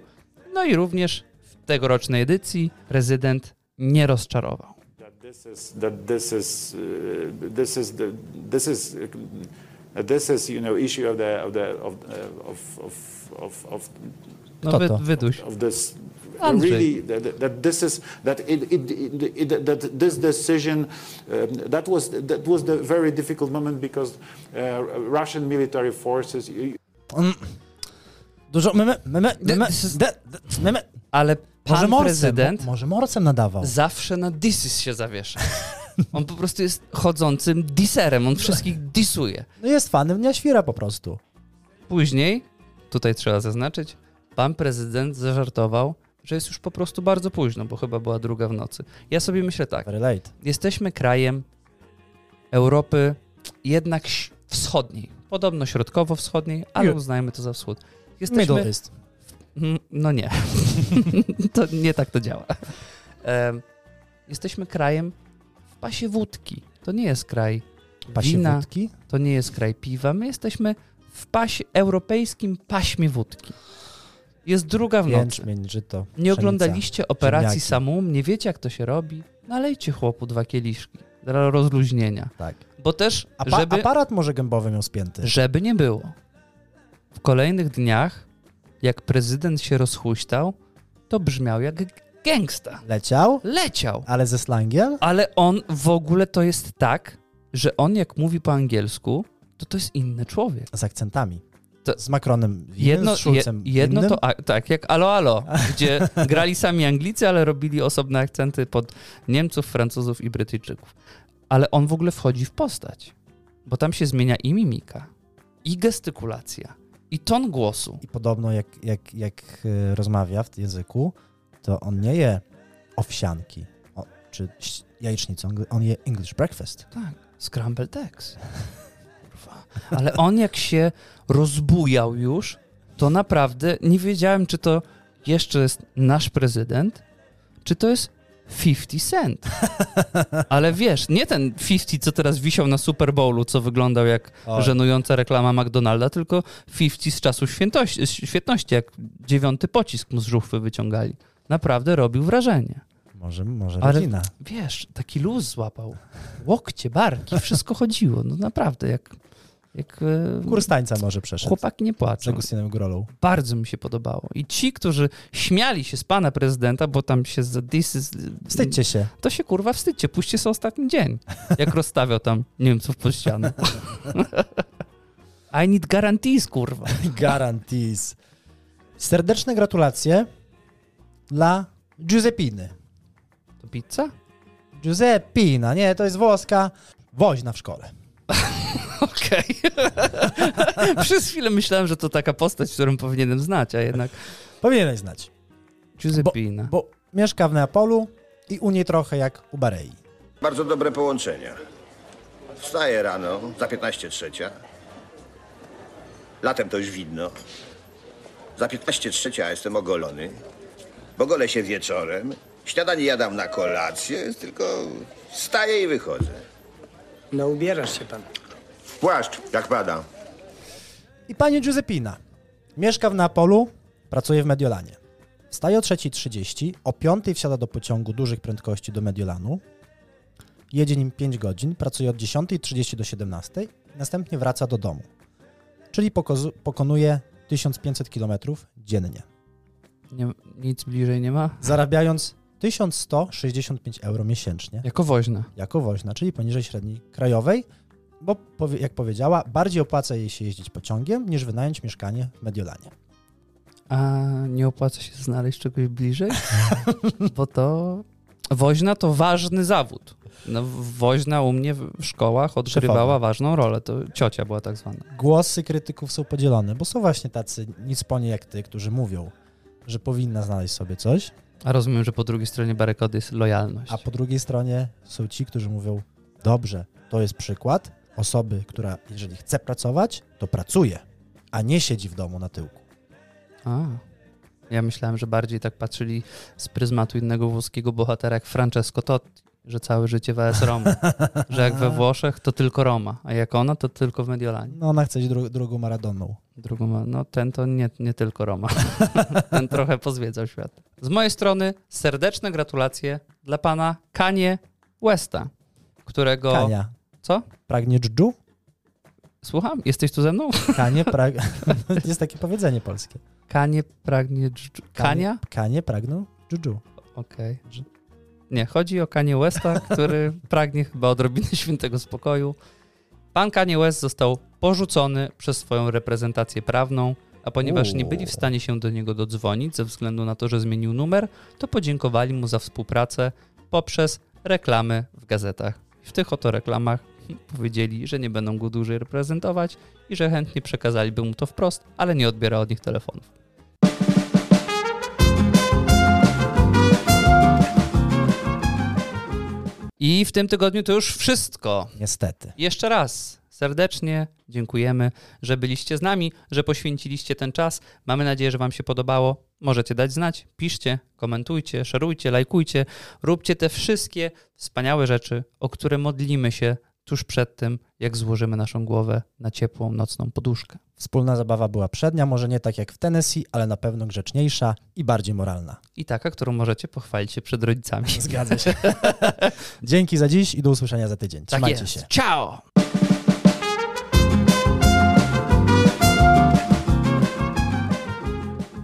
Speaker 1: No i również w tegorocznej edycji prezydent nie rozczarował.
Speaker 8: This is that this is uh, this is the this is uh, this is you know issue of the of the of uh, of of of, of
Speaker 1: No,
Speaker 2: Kto
Speaker 1: wy,
Speaker 2: to?
Speaker 1: wyduś.
Speaker 8: of this
Speaker 1: Andrzej.
Speaker 8: really that, that this is that it, it, it, it- that this decision um, that was that was the very difficult moment because uh, Russian military forces
Speaker 2: Dużo meme, meme, meme, de, de, meme.
Speaker 1: Ale
Speaker 2: Może
Speaker 1: pan
Speaker 2: morcem,
Speaker 1: prezydent
Speaker 2: mo, może morcem nadawał.
Speaker 1: zawsze na disys się zawiesza. On po prostu jest chodzącym diserem, on wszystkich disuje.
Speaker 2: No jest fanem Dnia Świra po prostu.
Speaker 1: Później, tutaj trzeba zaznaczyć, pan prezydent zażartował, że jest już po prostu bardzo późno, bo chyba była druga w nocy. Ja sobie myślę tak,
Speaker 2: Very late.
Speaker 1: jesteśmy krajem Europy jednak ś- wschodniej, podobno środkowo-wschodniej, ale
Speaker 2: Nie.
Speaker 1: uznajmy to za wschód.
Speaker 2: Middle
Speaker 1: Jesteśmy,
Speaker 2: East.
Speaker 1: Mm, No nie. to nie tak to działa. Em, jesteśmy krajem w pasie wódki. To nie jest kraj wina,
Speaker 2: Pasiewutki.
Speaker 1: to nie jest kraj piwa. My jesteśmy w pasie, europejskim paśmie wódki. Jest druga w nocy.
Speaker 2: Jęczmień, żyto,
Speaker 1: Nie
Speaker 2: pszenica.
Speaker 1: oglądaliście operacji
Speaker 2: ziemniaki.
Speaker 1: Samum, nie wiecie jak to się robi. Nalejcie chłopu dwa kieliszki dla rozluźnienia.
Speaker 2: Tak.
Speaker 1: Bo też,
Speaker 2: Apa,
Speaker 1: żeby,
Speaker 2: Aparat może gębowy miał spięty.
Speaker 1: żeby nie było. W kolejnych dniach, jak prezydent się rozhuśtał, to brzmiał jak gangsta.
Speaker 2: Leciał,
Speaker 1: Leciał.
Speaker 2: ale ze slangiem.
Speaker 1: Ale on w ogóle to jest tak, że on jak mówi po angielsku, to to jest inny człowiek.
Speaker 2: Z akcentami.
Speaker 1: To-
Speaker 2: z Macronem jednym,
Speaker 1: Jedno,
Speaker 2: z Schulzem
Speaker 1: je, jedno
Speaker 2: innym.
Speaker 1: to, a, tak, jak Alo Alo, gdzie grali sami Anglicy, ale robili osobne akcenty pod Niemców, Francuzów i Brytyjczyków. Ale on w ogóle wchodzi w postać, bo tam się zmienia i mimika, i gestykulacja, i ton głosu.
Speaker 2: I podobno jak, jak, jak y, rozmawia w tym języku, to on nie je owsianki o, czy ś- jajecznicę, on- on je English breakfast.
Speaker 1: Tak, scrambled eggs. Kurwa. Ale on jak się rozbujał już, to naprawdę nie wiedziałem, czy to jeszcze jest nasz prezydent, czy to jest 50 Cent. Ale wiesz, nie ten 50, co teraz wisiał na Super Bowlu, co wyglądał jak
Speaker 2: Oj.
Speaker 1: żenująca reklama McDonalda, tylko 50 z czasu świętości, świetności, jak dziewiąty pocisk mu z żuchwy wyciągali. Naprawdę robił wrażenie.
Speaker 2: Może, może
Speaker 1: Ale-
Speaker 2: rodzina.
Speaker 1: Wiesz, taki luz złapał. Łokcie, barki, wszystko chodziło. No naprawdę, jak, jak e,
Speaker 2: Kurs tańca może przeszedł.
Speaker 1: chłopaki nie
Speaker 2: Z
Speaker 1: płaczą.
Speaker 2: Agustinem Grolą.
Speaker 1: Bardzo mi się podobało. I ci, którzy śmiali się z pana prezydenta, bo tam się za this is,
Speaker 2: Wstydźcie się.
Speaker 1: to się kurwa wstydźcie, puśćcie sobie ostatni dzień, jak rozstawiał tam Niemców pod ścianą. I need guarantees, kurwa.
Speaker 2: Garantis. Serdeczne gratulacje dla Giuseppiny.
Speaker 1: To pizza?
Speaker 2: Giuseppina, nie, to jest włoska. Woźna w szkole.
Speaker 1: Okej. Przez chwilę myślałem, że to taka postać, którą powinienem znać, a jednak
Speaker 2: Powinieneś znać.
Speaker 1: Giuseppina.
Speaker 2: Bo mieszka w Neapolu i u niej trochę jak u Barei.
Speaker 9: Bardzo dobre połączenia. Wstaję rano, za 15 trzecia. Latem to już widno. Za 15 trzecia jestem ogolony. Bo golę się wieczorem. Śniadanie jadam na kolację, tylko wstaję i wychodzę.
Speaker 10: No ubierasz się pan.
Speaker 9: W płaszcz, jak pada.
Speaker 2: I pani Giuseppina mieszka w Neapolu, pracuje w Mediolanie. Wstaje o 3.30, o 5.00 wsiada do pociągu dużych prędkości do Mediolanu. Jedzie nim 5 godzin, pracuje od 10.30 do 17.00, następnie wraca do domu. Czyli pokozu- pokonuje 1500 km dziennie,
Speaker 1: Nie, nic bliżej nie ma.
Speaker 2: zarabiając 1165 euro miesięcznie
Speaker 1: Jako woźna.
Speaker 2: jako woźna, czyli poniżej średniej krajowej, bo powie- jak powiedziała, bardziej opłaca jej się jeździć pociągiem niż wynająć mieszkanie w Mediolanie.
Speaker 1: A nie opłaca się znaleźć czegoś bliżej? Bo to. Woźna to ważny zawód. No, woźna u mnie w w szkołach odgrywała
Speaker 2: Szefowa.
Speaker 1: ważną rolę. To ciocia była tak zwana.
Speaker 2: głosy krytyków są podzielone, bo są właśnie tacy nic po nie jak ty, którzy mówią, że powinna znaleźć sobie coś,
Speaker 1: A rozumiem, że po drugiej stronie barykady jest lojalność.
Speaker 2: a po drugiej stronie są ci, którzy mówią, dobrze, to jest przykład osoby, która jeżeli chce pracować, to pracuje, a nie siedzi w domu na tyłku.
Speaker 1: A. Ja myślałem, że bardziej tak patrzyli z pryzmatu innego włoskiego bohatera jak Francesco Totti, że całe życie w AS Roma. że jak we Włoszech to tylko Roma, a jak ona to tylko w Mediolanie.
Speaker 2: No ona chce iść dru- drugą maradoną.
Speaker 1: Drugą, ma- no ten to nie, nie tylko Roma. ten trochę pozwiedzał świat. Z mojej strony serdeczne gratulacje dla pana Kanie Westa, którego...
Speaker 2: Kania.
Speaker 1: Co?
Speaker 2: Pragnie dżdżu?
Speaker 1: Słucham? Jesteś tu ze mną?
Speaker 2: Kanie prag... Jest takie powiedzenie polskie.
Speaker 1: Kanie pragnie dżdżu. Kania?
Speaker 2: Kanie pragną dżdżu.
Speaker 1: Okej. Nie, chodzi o Kanie Westa, który pragnie chyba odrobiny świętego spokoju. Pan Kanie West został porzucony przez swoją reprezentację prawną, a ponieważ nie byli w stanie się do niego dodzwonić ze względu na to, że zmienił numer, to podziękowali mu za współpracę poprzez reklamy w gazetach. W tych oto reklamach powiedzieli, że nie będą go dłużej reprezentować i że chętnie przekazaliby mu to wprost, ale nie odbiera od nich telefonów. I w tym tygodniu to już wszystko.
Speaker 2: Niestety.
Speaker 1: Jeszcze raz serdecznie dziękujemy, że byliście z nami, że poświęciliście ten czas. Mamy nadzieję, że Wam się podobało. Możecie dać znać, piszcie, komentujcie, szerujcie, lajkujcie, róbcie te wszystkie wspaniałe rzeczy, o które modlimy się tuż przed tym, jak złożymy naszą głowę na ciepłą nocną poduszkę.
Speaker 2: Wspólna zabawa była przednia, może nie tak jak w Tennessee, ale na pewno grzeczniejsza i bardziej moralna.
Speaker 1: I taka, którą możecie pochwalić się przed rodzicami.
Speaker 2: Zgadza się. Dzięki za dziś i do usłyszenia za tydzień.
Speaker 1: Tak
Speaker 2: Trzymajcie
Speaker 1: jest.
Speaker 2: się.
Speaker 1: Ciao!